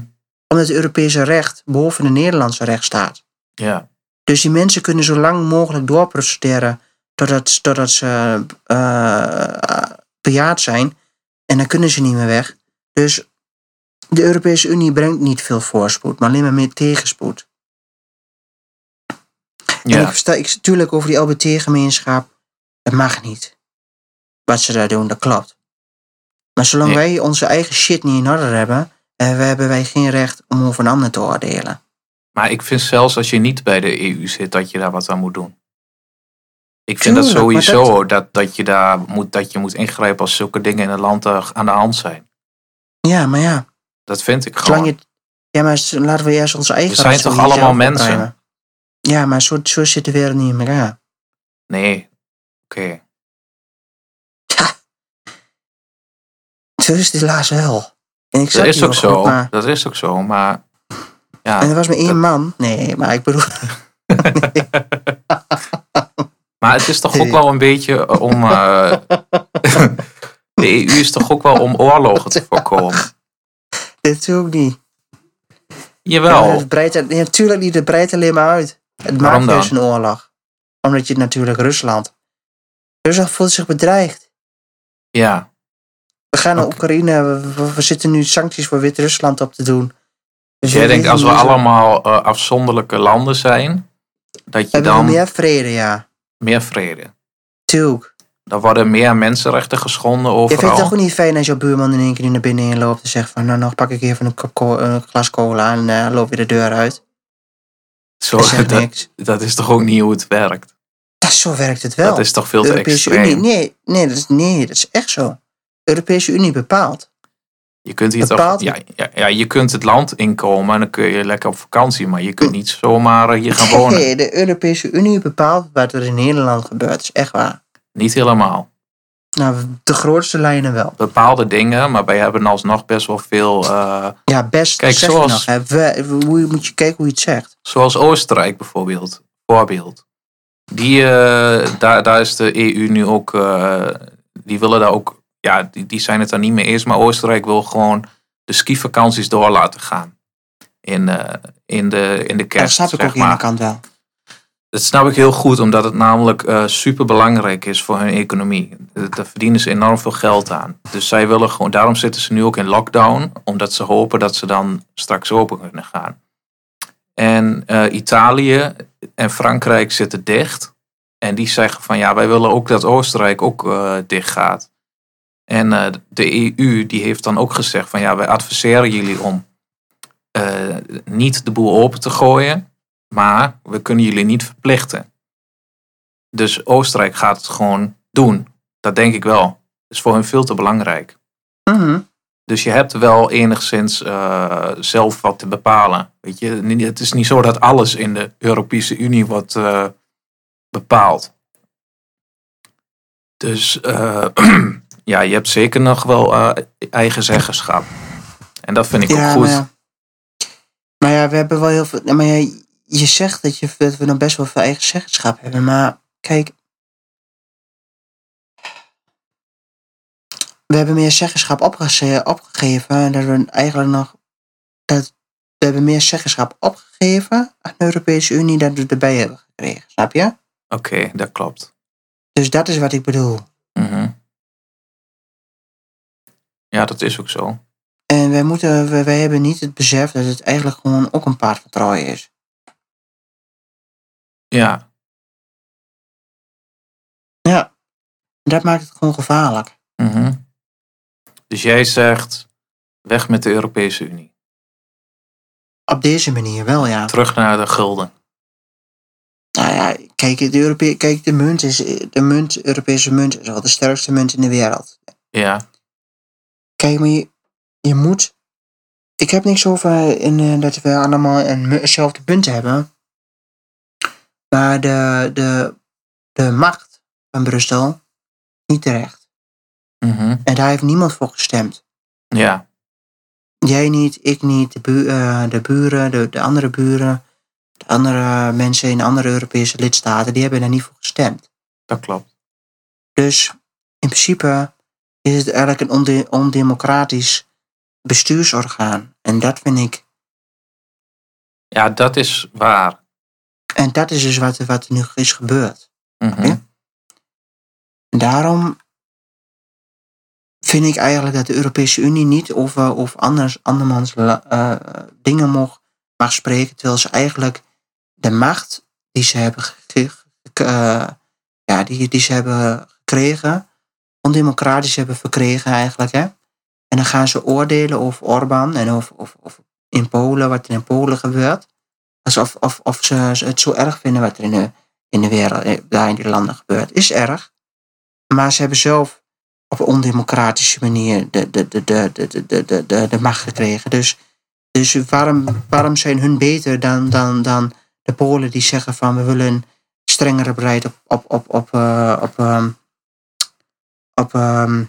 Omdat het Europese recht boven het Nederlandse recht staat.
Ja.
Dus die mensen kunnen zo lang mogelijk doorprocederen totdat, totdat ze eh, bejaard zijn. En dan kunnen ze niet meer weg. Dus de Europese Unie brengt niet veel voorspoed, maar alleen maar meer tegenspoed. En ik
Ja.
versta ik, natuurlijk over die LBT-gemeenschap. Het mag niet. Wat ze daar doen, dat klopt. Maar zolang
Nee.
wij onze eigen shit niet in orde hebben, eh, we hebben wij geen recht om over een ander te oordelen.
Maar ik vind zelfs als je niet bij de EU zit, dat je daar wat aan moet doen. Ik vind dat
Tuurlijk, maar
sowieso dat... Dat, je daar moet, dat je moet ingrijpen als zulke dingen in een land eh, aan de hand zijn.
Ja, maar ja.
Dat vind ik gewoon.
Zolang je, ja, maar s- laten we juist onze eigen
We zijn
ratio
toch
niet
allemaal
zelf
mensen?
opruimen. Ja, maar zo, zo zit de wereld niet in elkaar.
Nee. Oké.
Zo is het helaas wel. En ik snap
Dat is
je wel
ook
goed,
zo.
maar
Dat is ook zo. Maar Ja,
En er was maar één man. Nee, maar ik bedoel...
Maar het is toch ook wel een beetje eh, om. eh, de EU is toch ook wel om oorlogen te voorkomen?
Dit ook niet. Ja,
Jawel.
het breidt, het- ja, natuurlijk niet, het breidt alleen maar uit. Het
Nou. Waarom
maakt
dan?
juist een oorlog. Omdat je natuurlijk Rusland... Rusland voelt zich bedreigd.
Ja.
We gaan naar
Oké.
Oekraïne. We, we- we zitten nu sancties voor Wit-Rusland op te doen. Dus
Dus jij
we
denkt
weten
als we
niet zo-
allemaal eh, afzonderlijke landen zijn, dat je
Hebben we
dan
meer vrede, ja.
meer vrede.
Tuurlijk.
Dan worden meer mensenrechten geschonden
Je vindt het
overal.
ook niet fijn als jouw buurman in één keer naar binnen in loopt en zegt van... Nou, nog pak ik even een, coco- een glas cola en eh, loop weer de deur uit.
Zo,
Dat zegt
Oh, dat,
niks.
dat is toch ook niet hoe het werkt?
Dat, zo werkt het wel.
Dat is toch veel
De
te
Europese Unie,
extreem?
nee, nee, dat is, nee, dat is echt zo. De Europese Unie bepaalt.
Je kunt, hier toch,
bepaalt-
ja, ja, ja, je kunt het land inkomen en dan kun je lekker op vakantie, maar je kunt niet zomaar eh, hier gaan wonen.
Nee, de Europese Unie bepaalt wat er in Nederland gebeurt. Dat is echt waar.
Niet helemaal.
Nou, de grootste lijnen wel.
bepaalde dingen, maar wij hebben alsnog best wel veel. eh,
Ja, best
Kijk,
dat zeg
zoals-
je nog. Hè. We- we- hoe, moet je kijken hoe je het zegt.
zoals Oostenrijk bijvoorbeeld. Voorbeeld. Die, eh, daar, daar is de EU nu ook. eh, die willen daar ook. Ja, die, die zijn het daar niet mee eens, maar Oostenrijk wil gewoon de skivakanties door laten gaan. In, eh, in, de, in de
Ja, dat
kerst.
snap ik
zeg
ook aan de
maar.
kant wel.
Dat snap ik heel goed, omdat het namelijk super belangrijk is voor hun economie. Eh, Daar verdienen ze enorm veel geld aan. Dus zij willen gewoon, daarom zitten ze nu ook in lockdown, omdat ze hopen dat ze dan straks open kunnen gaan. En eh, Italië en Frankrijk zitten dicht. En die zeggen van ja, wij willen ook dat Oostenrijk ook eh, dicht gaat. En eh, de EU die heeft dan ook gezegd van ja, wij adviseren jullie om eh, niet de boel open te gooien. Maar we kunnen jullie niet verplichten. Dus Oostenrijk gaat het gewoon doen. Dat denk ik wel. is voor hun veel te belangrijk.
Mhm.
Dus je hebt wel enigszins eh, zelf wat te bepalen. Weet je, niet- het is niet zo dat alles in de Europese Unie wordt eh, bepaald. Dus eh, ja, je hebt zeker nog wel eh, eigen zeggenschap. En dat vind ik ook goed.
Maar, ja. maar ja, we hebben wel heel veel. nou, Maar ja, je zegt dat, je, dat we nog best wel veel eigen zeggenschap hebben. Maar kijk. We hebben meer zeggenschap opgeze- opgegeven. Dat we eigenlijk nog. Dat, we hebben meer zeggenschap opgegeven aan de Europese Unie dan we erbij hebben gekregen. Snap je?
Oké, dat klopt.
Dus dat is wat ik bedoel.
Mhm. Ja, dat is ook zo.
En wij, moeten, wij, wij hebben niet het besef dat het eigenlijk gewoon ook een paard van Troje is.
Ja,
Dat maakt het gewoon gevaarlijk.
mhm. dus jij zegt weg met de Europese Unie.
Op deze manier wel, ja.
Terug naar de gulden.
Nou ja, kijk, de, Europe- kijk, de munt is de munt, Europese munt is wel de sterkste munt in de wereld.
Ja,
Kijk, maar je, je moet. Ik heb niks over in, eh, dat we allemaal een, mu- eenzelfde munt hebben. Maar de, de, de macht van Brussel niet terecht.
mhm.
En daar heeft niemand voor gestemd.
ja,
Jij niet, ik niet, de, bu- eh, de buren, de, de andere buren, de andere mensen in andere Europese lidstaten, die hebben daar niet voor gestemd.
dat klopt.
Dus in principe is het eigenlijk een onde- ondemocratisch bestuursorgaan. En dat vind ik.
Ja, dat is waar.
En dat is dus wat, wat er nu is gebeurd.
Mhm.
Ja. En daarom vind ik eigenlijk dat de Europese Unie niet over of anders, andermans la- eh, dingen mag, mag spreken, terwijl ze eigenlijk de macht die ze hebben, gege- ge- eh, ja, die, die ze hebben gekregen, ondemocratisch hebben verkregen eigenlijk. Hè? En dan gaan ze oordelen over Orbán en of, of, of in Polen, wat er in Polen gebeurt. Alsof of, of ze ze het zo erg vinden wat er in de, in de wereld, eh, daar in die landen gebeurt. Is erg. Maar ze hebben zelf op een ondemocratische manier de, de, de, de, de, de- de, de, de, de macht gekregen. Dus, dus waarom, waarom zijn hun beter dan, dan, dan de Polen die zeggen van we willen een strengere beleid op, op, op, op, eh, op, ehm, op ehm,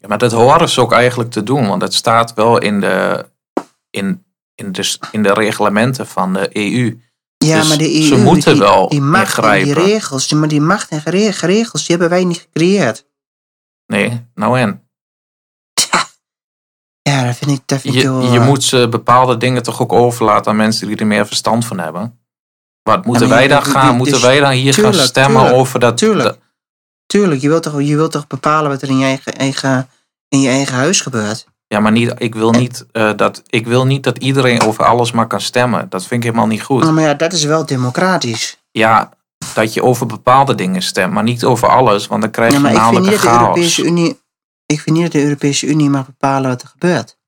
Ja, maar dat horen ze ook eigenlijk te doen, want dat staat wel in de, in in de, s- in de reglementen van de E EU.
Ja,
Dus
maar de EU,
ze moeten
die,
wel
die macht en
ingrijpen.
die regels, die- maar die macht en gere- regels, die hebben wij niet gecreëerd.
Nee, nou en?
Ja, dat vind ik, dat vind ik
Je,
heel,
je
eh,
moet ze bepaalde dingen toch ook overlaten aan mensen die er meer verstand van hebben. Wat moeten
maar
wij
ja,
dan
die-
gaan?
die-
Moeten
dus-
wij dan hier gaan
tuurlijk,
stemmen
tuurlijk,
over dat?
tuurlijk.
dat-
Tuurlijk, je wilt toch, je wilt toch bepalen wat er in je eigen, eigen, in je eigen huis gebeurt.
ja, maar niet, ik, wil niet, eh, dat, ik wil niet dat iedereen over alles maar kan stemmen. Dat vind ik helemaal niet goed.
Nou, Maar ja, dat is wel democratisch.
Ja, dat je over bepaalde dingen stemt, maar niet over alles, want dan krijg je
Ja, maar ik vind,
namelijk
niet
een
dat de
chaos.
Europese Unie, ik vind niet dat de Europese Unie mag bepalen wat er gebeurt.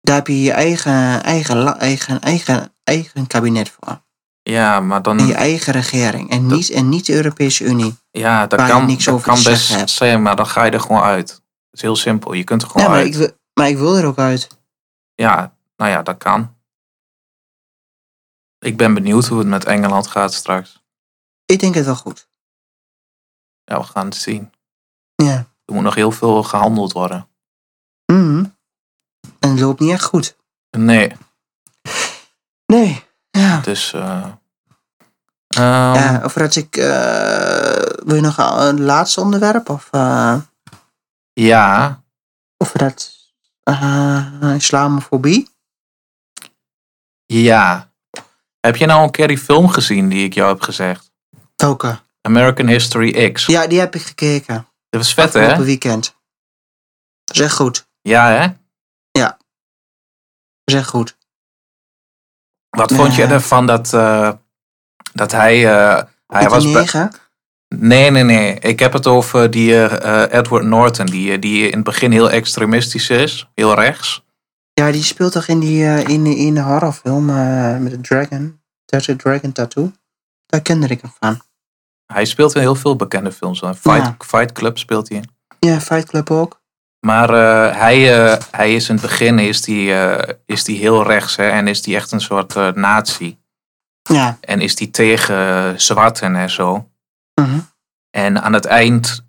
Daar heb je je eigen, eigen, la- eigen, eigen, eigen kabinet voor.
Ja, maar dan,
En je eigen regering. En niet, en niet de Europese Unie.
Ja, dat
waar je
kan,
niks
dat
over
kan
te
best
zeggen hebt.
zijn, maar dan ga je er gewoon uit. Het is heel simpel. Je kunt er gewoon
Ja, maar
uit.
ik, wil- maar ik wil er ook uit.
Ja, nou ja, dat kan. Ik ben benieuwd hoe het met Engeland gaat straks.
Ik denk het wel goed.
Ja, we gaan het zien.
Ja.
Er moet nog heel veel gehandeld worden.
Mhm. En het loopt niet echt goed.
Nee,
Nee. Ja.
dus. eh, ehm,
ja of dat ik. eh, wil je nog een laatste onderwerp? Of, eh,
ja,
of dat. eh, islamofobie?
ja. Heb je nou een keer die film gezien die ik jou heb gezegd?
Welke?
American History X.
Ja, die heb ik gekeken.
Dat was vet,
Afgelopen
hè?
weekend. Dat is echt goed.
Ja, hè?
Dat is echt goed.
Wat vond je
Ja.
ervan dat, eh, dat hij. eh, hij
Met
was
die
bij-
negen?
Nee, nee, nee. Ik heb het over die eh, eh, Edward Norton, die, eh, die in het begin heel extremistisch is, heel rechts.
Ja, die speelt toch in die eh, in, in de horrorfilm eh, met de dragon. Tattoo, dragon tattoo. Daar kende ik hem van.
Hij speelt in heel veel bekende films. hè. Fight,
Ja.
Fight Club speelt hij in.
Ja, Fight Club ook.
Maar eh, hij, eh, hij is in het begin is die, eh, is die heel rechts hè, en is die echt een soort eh, nazi.
Ja.
En is die tegen eh, zwarten en zo.
Mhm.
En aan het eind,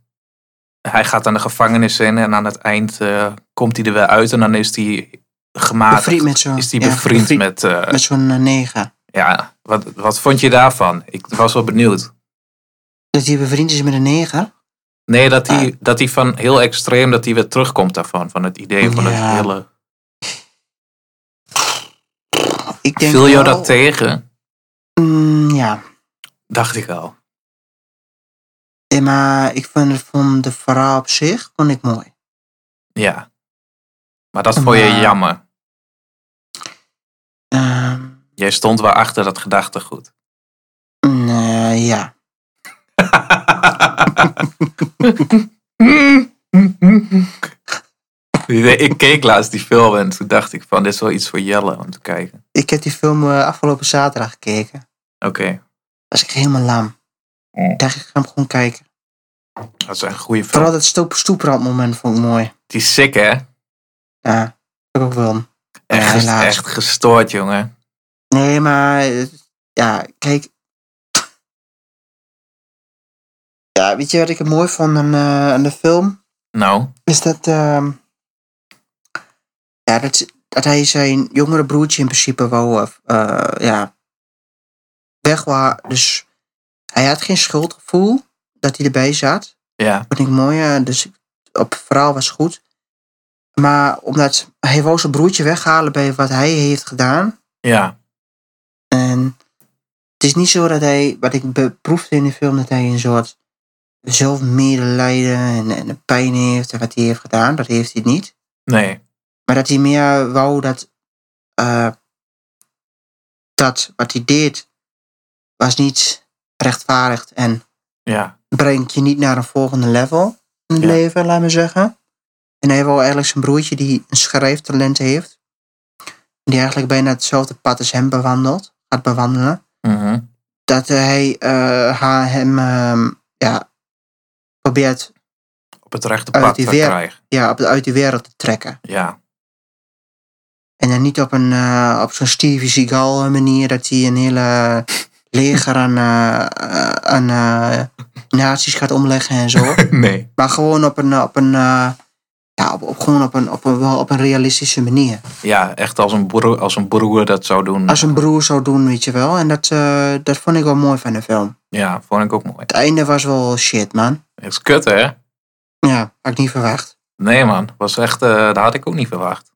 hij gaat aan de gevangenis in en aan het eind eh, komt hij er weer uit en dan is hij
Bevriend
gematigd.
met zo'n...
Ah, Is die
ja,
bevriend met, eh,
Met zo'n eh, negen.
Ja, wat, wat vond je daarvan? Ik was wel benieuwd.
Dat hij bevriend is met een negen.
Nee, dat hij, dat hij van heel extreem, dat hij weer terugkomt daarvan. Van het idee van
Ja,
het hele...
Ik denk
Viel jou
wel-
dat tegen?
Mm, ja.
Dacht ik al.
Eh, Maar ik vond, vond de verhaal op zich vond ik mooi.
Ja. Maar dat vond je
Maar-
jammer.
Ehm,
Jij stond wel achter dat gedachtegoed.
mm, eh, ja.
Nee, ik keek laatst die film en toen dacht ik van, dit is wel iets voor Jelle om te kijken.
Ik heb die film eh, afgelopen zaterdag gekeken.
Oké,
Was ik helemaal lam.
Mm.
Dacht ik ga hem gewoon kijken.
dat is een goede film.
Vooral dat stoep, stoeprandmoment vond ik mooi.
Die is sick hè?
Ja, dat heb ik ook wel. Ja,
Echt,
helaas.
echt gestoord jongen.
Nee, maar eh, ja, kijk. Ja, weet je wat ik het mooi vond aan, eh, aan de film?
Nou,
Is dat, ehm, ja, dat, dat hij zijn jongere broertje in principe wou eh, ja, weg was. Dus hij had geen schuldgevoel dat hij erbij zat.
ja.
Vond ik mooi, eh, dus ik- op het verhaal was goed. Maar omdat hij wou zijn broertje weghalen bij wat hij heeft gedaan.
Ja,
En het is niet zo dat hij, wat ik beproefde in de film, dat hij een soort zelfmedelijden en, en een pijn heeft en wat hij heeft gedaan. Dat heeft hij niet.
nee.
Maar dat hij meer wou dat, eh, dat wat hij deed was niet rechtvaardigd en
Ja,
brengt je niet naar een volgende level in het
Ja.
leven, laat maar zeggen. En hij wil eigenlijk zijn broertje die een schrijftalent heeft, die eigenlijk bijna hetzelfde pad als hem bewandelt, gaat bewandelen
mhm,
dat hij eh, haar hem ehm, ja, probeert
op het rechte
Uit
pad te
die weer-
krijgen.
ja, op, uit de wereld te trekken.
Ja,
En dan niet op, een, eh, op zo'n Stevie Seagal manier dat hij een hele leger aan, eh, eh, aan eh, nazi's gaat omleggen en zo.
nee.
Maar gewoon op een, op een eh, ja, op, op, gewoon op een, op, een, wel op een realistische manier.
Ja, echt als een broer, als een broer dat zou doen.
Als een broer zou doen, weet je wel. En dat, eh, dat vond ik wel mooi van de film.
Ja, vond ik ook mooi.
Het einde was wel shit, man.
Het is kut, hè?
Ja, had ik niet verwacht.
Nee, man. Was echt, eh, dat had ik ook niet verwacht.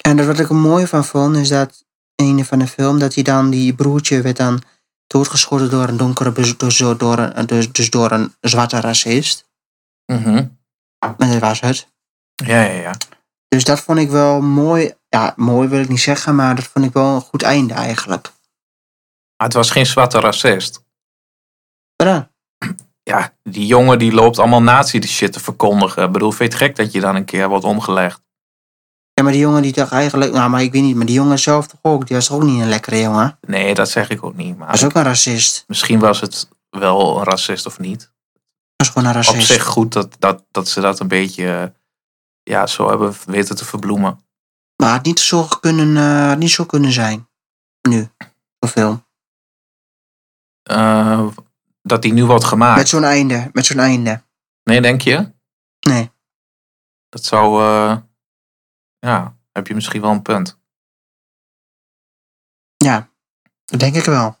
En dat wat ik er mooi van vond, is dat einde van de film, dat hij dan, die broertje werd dan doodgeschoten door een donkere, bez- dus door, door een, dus, dus door een zwarte racist.
Mhm.
En dat was het.
Ja, ja, ja.
Dus dat vond ik wel mooi. Ja, mooi wil ik niet zeggen, maar dat vond ik wel een goed einde eigenlijk.
Maar het was geen zwarte racist.
Maar dan,
Ja, die jongen die loopt allemaal nazi shit te verkondigen. Ik bedoel, vind je het gek dat je dan een keer wordt omgelegd?
ja, maar die jongen die dacht eigenlijk, nou, maar ik weet niet, maar die jongen zelf toch ook, die was toch ook niet een lekkere jongen.
Nee, dat zeg ik ook niet.
Hij is
Maar
ook een racist.
misschien was het wel een racist of niet.
Hij is gewoon een
Op
racist.
zich goed dat, dat, dat ze dat een beetje eh, ja, zo hebben weten te verbloemen.
Maar het had niet zo kunnen, eh, had niet zo kunnen zijn. Nu. Zo'n film.
Eh, dat die nu wordt gemaakt.
Met zo'n einde. Met zo'n einde.
Nee, denk je?
Nee.
Dat zou. eh, ja, heb je misschien wel een punt.
Dat denk ik wel.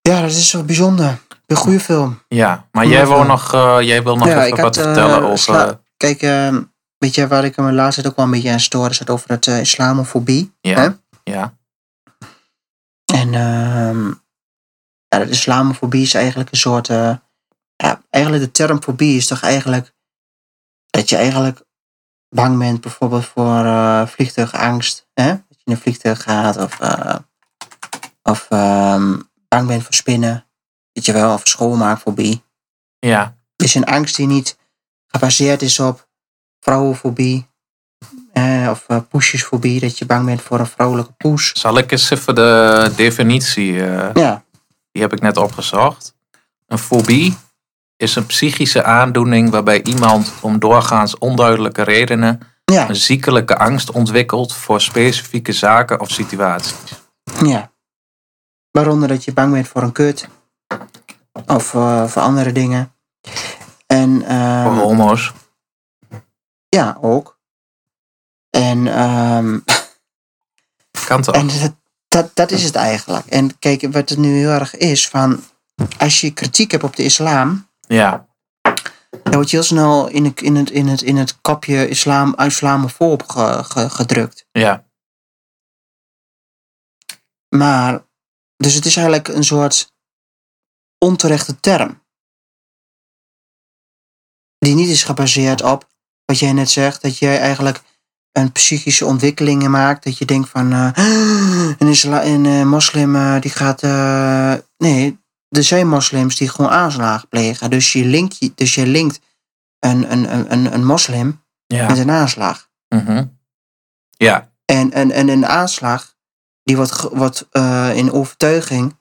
Ja, dat is zo bijzonder. Een goede film.
Ja, maar
Omdat
jij wil
we-
nog, eh, jij wil nog
Ja,
even
ik
wat
had, eh,
vertellen over.
sla- Kijk, eh, weet je waar ik me laatst ook wel een beetje aan stoorde? Zat over het eh, islamofobie.
ja,
hè?
ja,
En ehm ja, de islamofobie is eigenlijk een soort. eh, ja, eigenlijk de term fobie is toch eigenlijk. Dat je eigenlijk bang bent bijvoorbeeld voor eh, vliegtuigangst. Hè? Dat je in een vliegtuig gaat of. eh, of ehm, bang bent voor spinnen. Weet je wel, of schoonmaakfobie.
ja,
Dus een angst die niet gebaseerd is op vrouwenfobie. eh, of eh, poesjesfobie, dat je bang bent voor een vrouwelijke poes.
Zal ik eens even de definitie. eh,
Ja,
die heb ik net opgezocht. Een fobie is een psychische aandoening waarbij iemand om doorgaans onduidelijke redenen
ja.
een ziekelijke angst ontwikkelt voor specifieke zaken of situaties.
Ja. Waaronder dat je bang bent voor een kut. Of eh, voor andere dingen. En ehm,
Voor homo's.
ja, ook. En, ehm,
Kan toch?
en dat, dat, dat is het eigenlijk. En kijk, wat het nu heel erg is, van als je kritiek hebt op de islam,
Ja,
dan word je heel snel in het, in het, in het, in het kapje islam, islamofoob ge- ge- gedrukt.
ja,
Maar, dus het is eigenlijk een soort onterechte term. Die niet is gebaseerd op wat jij net zegt, dat jij eigenlijk een psychische ontwikkelingen maakt. Dat je denkt van eh, een, isla- een eh, moslim eh, die gaat. eh, nee, er zijn moslims die gewoon aanslagen plegen. Dus je linkt, je- dus je linkt een, een, een, een, een moslim
ja.
met een aanslag.
mhm. Ja,
En, en, en een aanslag die wordt, ge- wordt eh, in overtuiging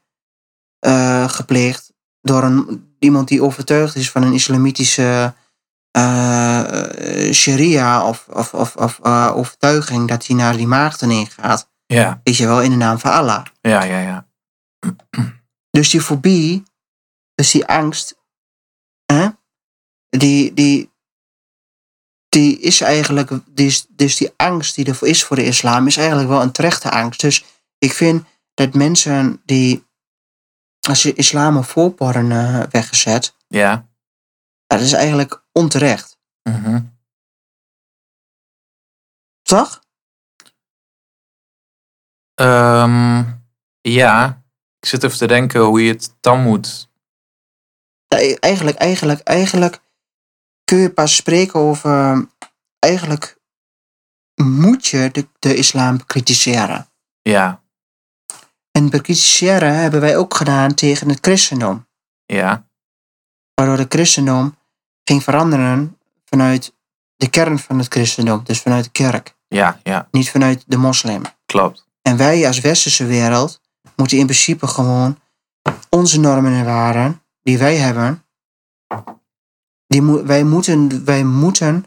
eh, gepleegd door een, iemand die overtuigd is van een islamitische eh, eh, sharia of, of, of, of eh, overtuiging dat hij naar die maagden heen gaat.
ja,
Weet je wel, in de naam van Allah.
ja, ja, ja.
Dus die fobie, dus die angst, hè, die, die, die is eigenlijk, die is, dus die angst die er is voor de islam, is eigenlijk wel een terechte angst. Dus ik vind dat mensen die, als je islamofoob worden eh, weggezet,
ja.
dat is eigenlijk onterecht.
mhm.
Toch?
Ehm, ja, ik zit even te denken hoe je het dan moet.
Ja, e- Eigenlijk, eigenlijk, eigenlijk kun je pas spreken over, eigenlijk moet je de, de islam kritiseren.
Ja,
En bekritiseren hebben wij ook gedaan tegen het christendom.
ja,
Waardoor het christendom ging veranderen vanuit de kern van het christendom. Dus vanuit de kerk,
ja, ja,
niet vanuit de moslim.
klopt.
En wij als westerse wereld moeten in principe gewoon onze normen en waarden die wij hebben. Die mo- wij, moeten, wij moeten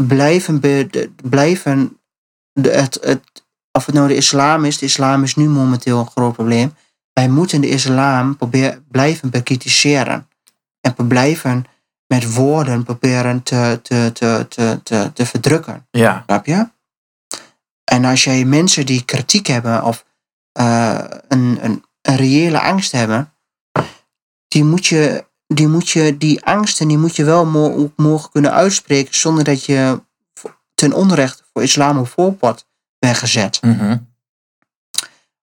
blijven, be- de- blijven de- het, het, of het nou de islam is, de islam is nu momenteel een groot probleem. Wij moeten de islam probeer, blijven bekritiseren. En be- blijven met woorden proberen te, te, te, te, te, te verdrukken.
Ja,
Snap je? En als jij mensen die kritiek hebben of eh, een, een, een reële angst hebben, die moet je die, moet je, die angsten die moet je wel mo- ook mogen kunnen uitspreken zonder dat je vo- ten onrechte voor islamofoob wordt bent gezet.
mhm,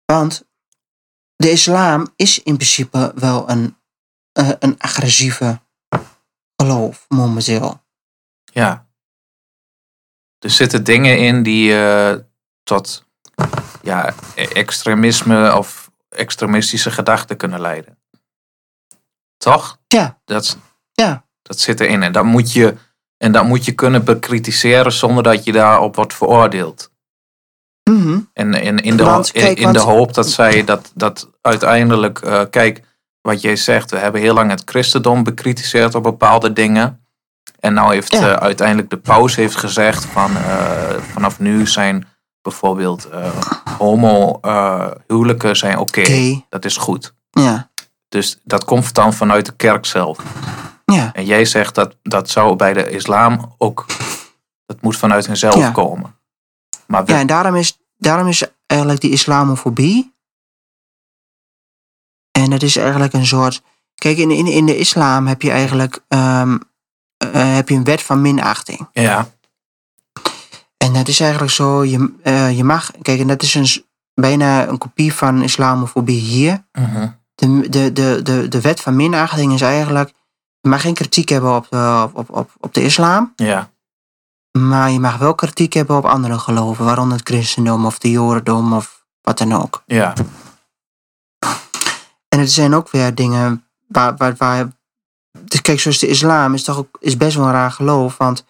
Want de islam is in principe wel een, eh, een agressieve geloof momenteel.
ja. Er zitten dingen in die eh, tot ja, e- extremisme of extremistische gedachten kunnen leiden. Toch?
Ja.
Dat,
Ja.
dat zit erin. En dat, moet je, en dat moet je kunnen bekritiseren zonder dat je daarop wordt veroordeeld.
Mhm.
En, en in, de,
Want,
in,
kijk,
in de
want-
hoop dat zij dat, dat uiteindelijk, eh, kijk, wat jij zegt, we hebben heel lang het christendom bekritiseerd op bepaalde dingen. En nou heeft
Ja.
eh, uiteindelijk de paus heeft gezegd van eh, vanaf nu zijn bijvoorbeeld eh, homo eh, huwelijken zijn oké.
Oké.
Dat is goed.
Ja.
Dus dat komt dan vanuit de kerk zelf.
Ja.
En jij zegt dat dat zou bij de islam ook, dat moet vanuit henzelf
Ja.
komen. Maar we,
ja, en daarom is, daarom is eigenlijk die islamofobie. En dat is eigenlijk een soort. Kijk, in, in, in de islam heb je eigenlijk ehm, eh, heb je een wet van minachting.
ja,
En dat is eigenlijk zo, je, eh, je mag, kijk, en dat is een, s- bijna een kopie van islamofobie hier.
mhm,
De, de, de, de, de wet van minachting is eigenlijk, je mag geen kritiek hebben op de, op, op, op de islam,
ja.
maar je mag wel kritiek hebben op andere geloven, waaronder het christendom of de jodendom of wat dan ook.
Ja,
En het zijn ook weer dingen waar, waar, waar dus kijk, zoals de islam is toch ook is best wel een raar geloof, want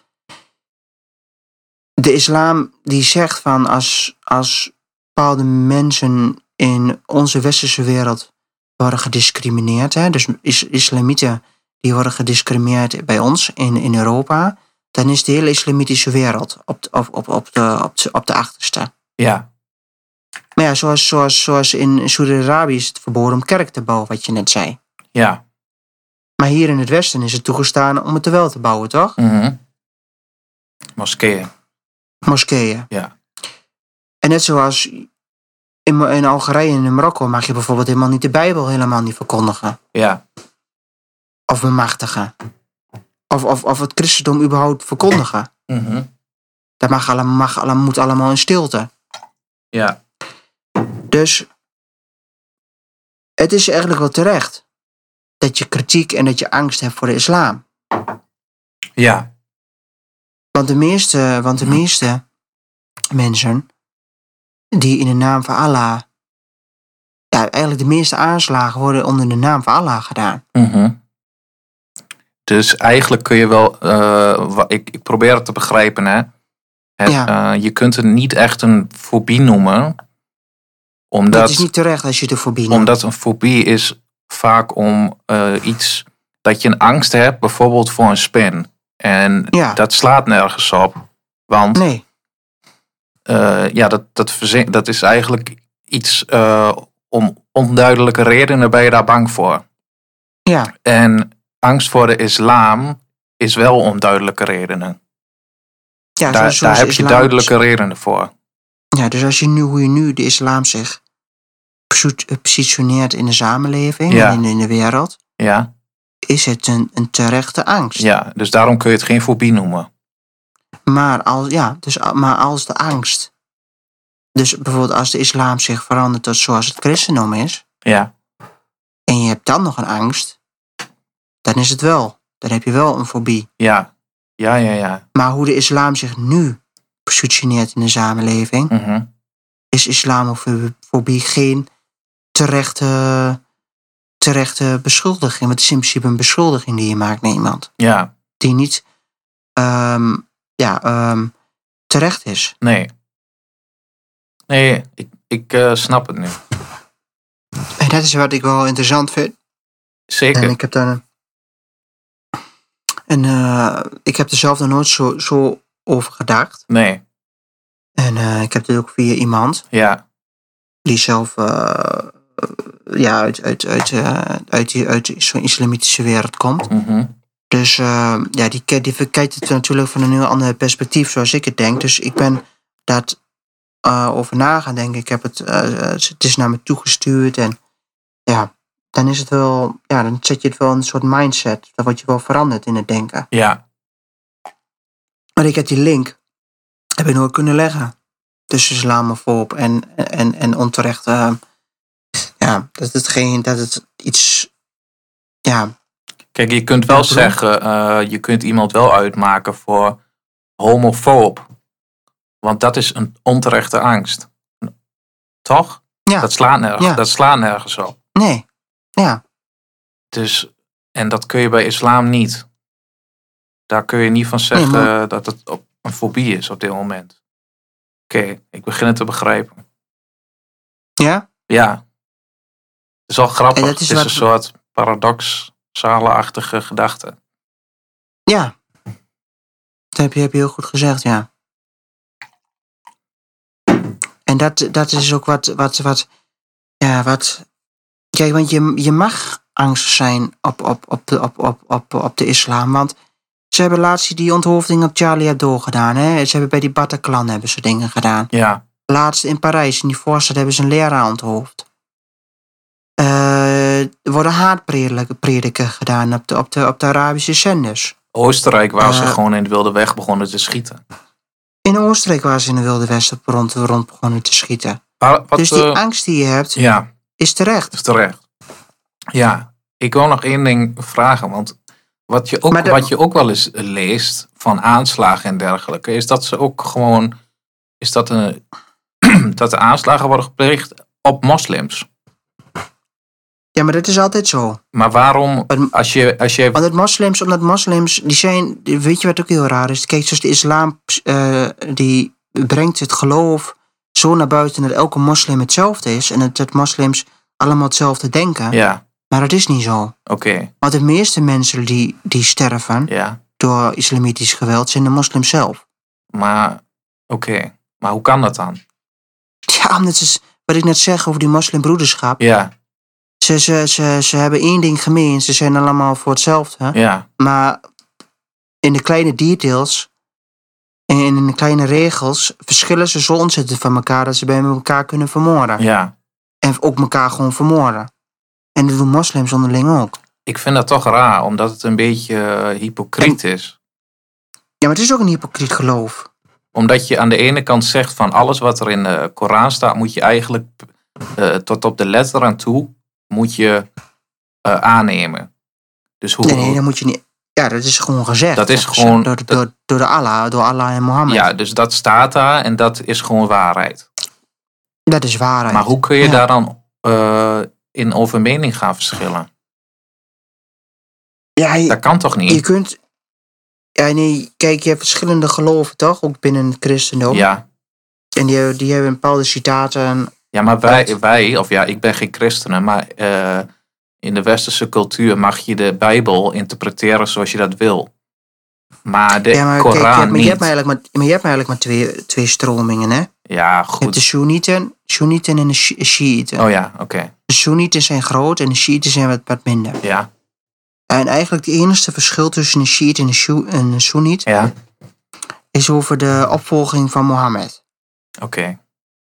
de islam die zegt van als, als bepaalde mensen in onze westerse wereld worden gediscrimineerd, hè, dus is, islamieten die worden gediscrimineerd bij ons in, in Europa, dan is de hele islamitische wereld op, de- op, op, op, de, op, de, op de achterste.
ja,
Maar ja, zoals, zoals, zoals in Saudi-Arabië is het verboden om kerk te bouwen, wat je net zei.
ja.
Maar hier in het Westen is het toegestaan om het er wel te bouwen, toch?
mhm. Moskeeën.
Moskeeën.
Ja.
En net zoals in, Mo- in Algerije en in Marokko mag je bijvoorbeeld helemaal niet de Bijbel helemaal niet verkondigen.
Ja,
Of bemachtigen. Of, of, of het christendom überhaupt verkondigen.
mhm.
Dat mag allemaal, mag, allemaal- moet allemaal in stilte.
ja,
Dus het is eigenlijk wel terecht dat je kritiek en dat je angst hebt voor de islam.
ja,
Want de meeste, want de meeste mensen die in de naam van Allah. Ja, eigenlijk de meeste aanslagen worden onder de naam van Allah gedaan.
mhm. Dus eigenlijk kun je wel, eh, wa- ik, ik probeer het te begrijpen, hè. Het,
Ja.
eh, je kunt het niet echt een fobie noemen,
Dat,
omdat,
is niet terecht als je het ervoor biedt.
omdat een fobie is vaak om eh, iets dat je een angst hebt, bijvoorbeeld voor een spin. En
Ja.
dat slaat nergens op, want
Nee,
eh, ja, dat, dat, verzin, dat is eigenlijk iets eh, om onduidelijke redenen ben je daar bang voor.
ja,
En angst voor de islam is wel om duidelijke redenen.
ja
daar
zoals-
daar
zoals
heb
de
je
islam-
duidelijke redenen voor.
Ja, dus als je nu, hoe je nu de islam zich posi- positioneert in de samenleving
Ja.
en in, in de wereld,
Ja,
is het een, een terechte angst.
ja, dus daarom kun je het geen fobie noemen.
Maar als, ja, dus, a- maar als de angst. Dus bijvoorbeeld als de islam zich verandert tot zoals het christendom is.
Ja,
en je hebt dan nog een angst, dan is het wel. Dan heb je wel een fobie.
ja, ja, ja, ja.
Maar hoe de islam zich nu positioneert in de samenleving,
Mhm.
is islamofobie geen terechte, terechte beschuldiging. Want het is in principe een beschuldiging die je maakt naar iemand,
Ja,
die niet ehm, ja, ehm, terecht is.
nee. Nee, ik, ik eh, snap het nu.
En dat is wat ik wel interessant vind. En
Zeker.
ik heb daar een. En eh, ik heb er zelf nog nooit zo, zo over gedacht.
Nee,
En eh, ik heb dit ook via iemand
ja,
die zelf eh, ja, uit, uit, uit, eh, uit, die- uit zo'n islamitische wereld komt.
mhm.
Dus eh, ja, die, ki- die kijkt het natuurlijk van een heel ander perspectief, zoals ik het denk. Dus ik ben dat eh, over na gaan denken. Ik heb het, eh, eh, het is naar me toegestuurd. En ja, dan is het wel, ja, dan zet je het wel in een soort mindset. Dan word je wel veranderd in het denken.
Ja,
Maar ik heb die link, heb ik nooit kunnen leggen. Dus Tussen islamofob en, en, en onterecht. eh, ja, dat het, geen, dat het iets, ja,
kijk, je kunt wel
Ja, bedoel.
zeggen, eh, je kunt iemand wel uitmaken voor homofoob. Want dat is een onterechte angst. Toch?
Ja.
Dat slaat nergens,
Ja.
dat slaat nergens op.
nee,
Dus, en dat kun je bij islam niet. Daar kun je niet van zeggen
Nee,
dat het op- een fobie is op dit moment. Oké, ik begin het te begrijpen.
ja.
Ja. Het is wel grappig.
En dat is
het is
wat-
een soort paradoxale-achtige gedachte.
Ja. Dat heb je, heb je heel goed gezegd, ja. En dat, dat is ook wat, wat, wat, ja, wat, kijk, want je, je mag angst zijn op, op, op, de, op, op, op, op de islam, want ze hebben laatst die onthoofding op Charlie Hebdo gedaan, hè. Ze hebben bij die Bataclan hebben ze dingen gedaan.
Ja,
Laatst in Parijs, in die voorstad, hebben ze een leraar onthoofd. Eh, er worden haatprediken gedaan op de, op de, op de Arabische zenders.
Oostenrijk waar ze
Eh.
gewoon in het wilde weg begonnen te schieten.
In Oostenrijk waren ze in de Wilde Westen op rond, rond begonnen te schieten.
Maar wat,
dus die
eh,
angst die je hebt,
ja,
is terecht.
Dus terecht. Ja, ik wil nog één ding vragen. Want wat je ook,
Maar de-
wat je ook wel eens leest van aanslagen en dergelijke, is dat ze ook gewoon. Is dat, een, dat de aanslagen worden gepleegd op moslims.
Ja, maar dat is altijd zo.
Maar waarom,
Maar-
als je, als je
Want het moslims, omdat moslims, die zijn, die- weet je wat ook heel raar is? Kijk, dus de islam, eh, die brengt het geloof zo naar buiten dat elke moslim hetzelfde is. En dat, dat moslims allemaal hetzelfde denken.
Ja,
Maar dat is niet zo.
oké,
Want de meeste mensen die, die sterven
ja.
door islamitisch geweld zijn de moslims zelf.
Maar, oké. Maar hoe kan dat dan?
Ja, omdat ze, wat ik net zeg over die moslimbroederschap.
Ja,
Ze, ze, ze, ze hebben één ding gemeen. Ze zijn allemaal voor hetzelfde.
ja,
Maar in de kleine details en in de kleine regels verschillen ze zo ontzettend van elkaar dat ze bij elkaar kunnen vermoorden.
ja.
En ook elkaar gewoon vermoorden. En dat doen moslims onderling ook.
Ik vind dat toch raar, omdat het een beetje eh, hypocriet is.
Ja, maar het is ook een hypocriet geloof.
Omdat je aan de ene kant zegt van alles wat er in de Koran staat, moet je eigenlijk eh, tot op de letter aan toe moet je eh, aannemen. Dus hoe,
Nee, nee, dat moet je niet. Ja, dat is gewoon gezegd.
Dat is
Door-
gewoon-
Door, door, door de Allah, door Allah en Mohammed.
ja, dus dat staat daar en dat is gewoon waarheid.
Dat is waarheid.
Maar hoe kun je
Ja.
daar dan eh, in over mening gaan verschillen?
Ja, je-
Dat kan toch
Je
niet?
kunt. Ja, nee, kijk, je hebt verschillende geloven toch? Ook binnen het christendom.
Ja.
En die, hebben- die hebben bepaalde citaten.
ja, maar wij,
Dat-
wij, of ja, ik ben geen christenen, maar eh, in de westerse cultuur mag je de Bijbel interpreteren zoals je dat wil. Maar de
ja, maar
Koran
kijk, je hebt, maar
niet.
je hebt eigenlijk maar, maar, je hebt maar, eigenlijk maar twee, twee stromingen, hè?
Ja,
Je hebt
goed.
de Soenieten, Soenieten en de Shi- Shiiten.
Oh ja, oké.
De Soenieten zijn groot en de Shiiten zijn wat, wat minder.
Ja,
En eigenlijk het enige verschil tussen de Shiit en de, Sho- en de Soeniet
ja.
is over de opvolging van Mohammed.
Oké.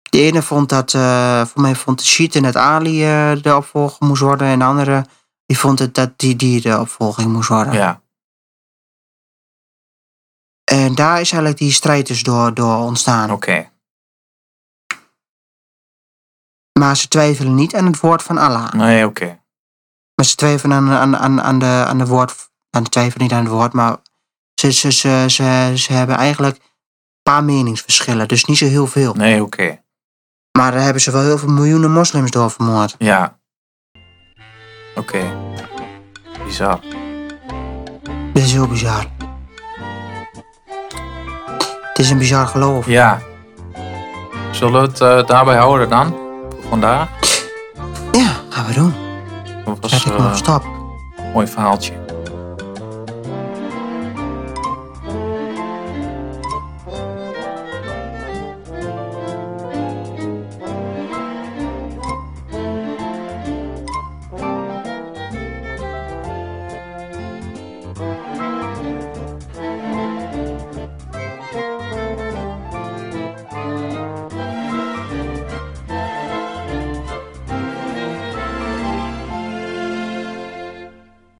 De ene vond dat, eh voor mij vond de Shiiten dat Ali eh, de opvolger moest worden. En de andere, die vond het dat die, die de opvolging moest worden.
Ja.
En daar is eigenlijk die strijd dus door, door ontstaan.
Oké.
Maar ze twijfelen niet aan het woord van Allah.
Nee, oké.
Maar ze twijfelen aan, aan, aan, aan, de, aan de woord. Aan de twijfelen niet aan het woord, maar ze, ze, ze, ze, ze hebben eigenlijk een paar meningsverschillen. Dus niet zo heel veel.
Nee, oké.
Maar daar hebben ze wel heel veel miljoenen moslims door vermoord.
Ja. Oké. Bizar.
Dat is heel bizar. Het is een bizar geloof.
Ja. Zullen we het eh, daarbij houden dan? Voor vandaag?
Ja, gaan we doen.
Dat was
Zet ik
eh,
maar op stap.
een mooi verhaaltje.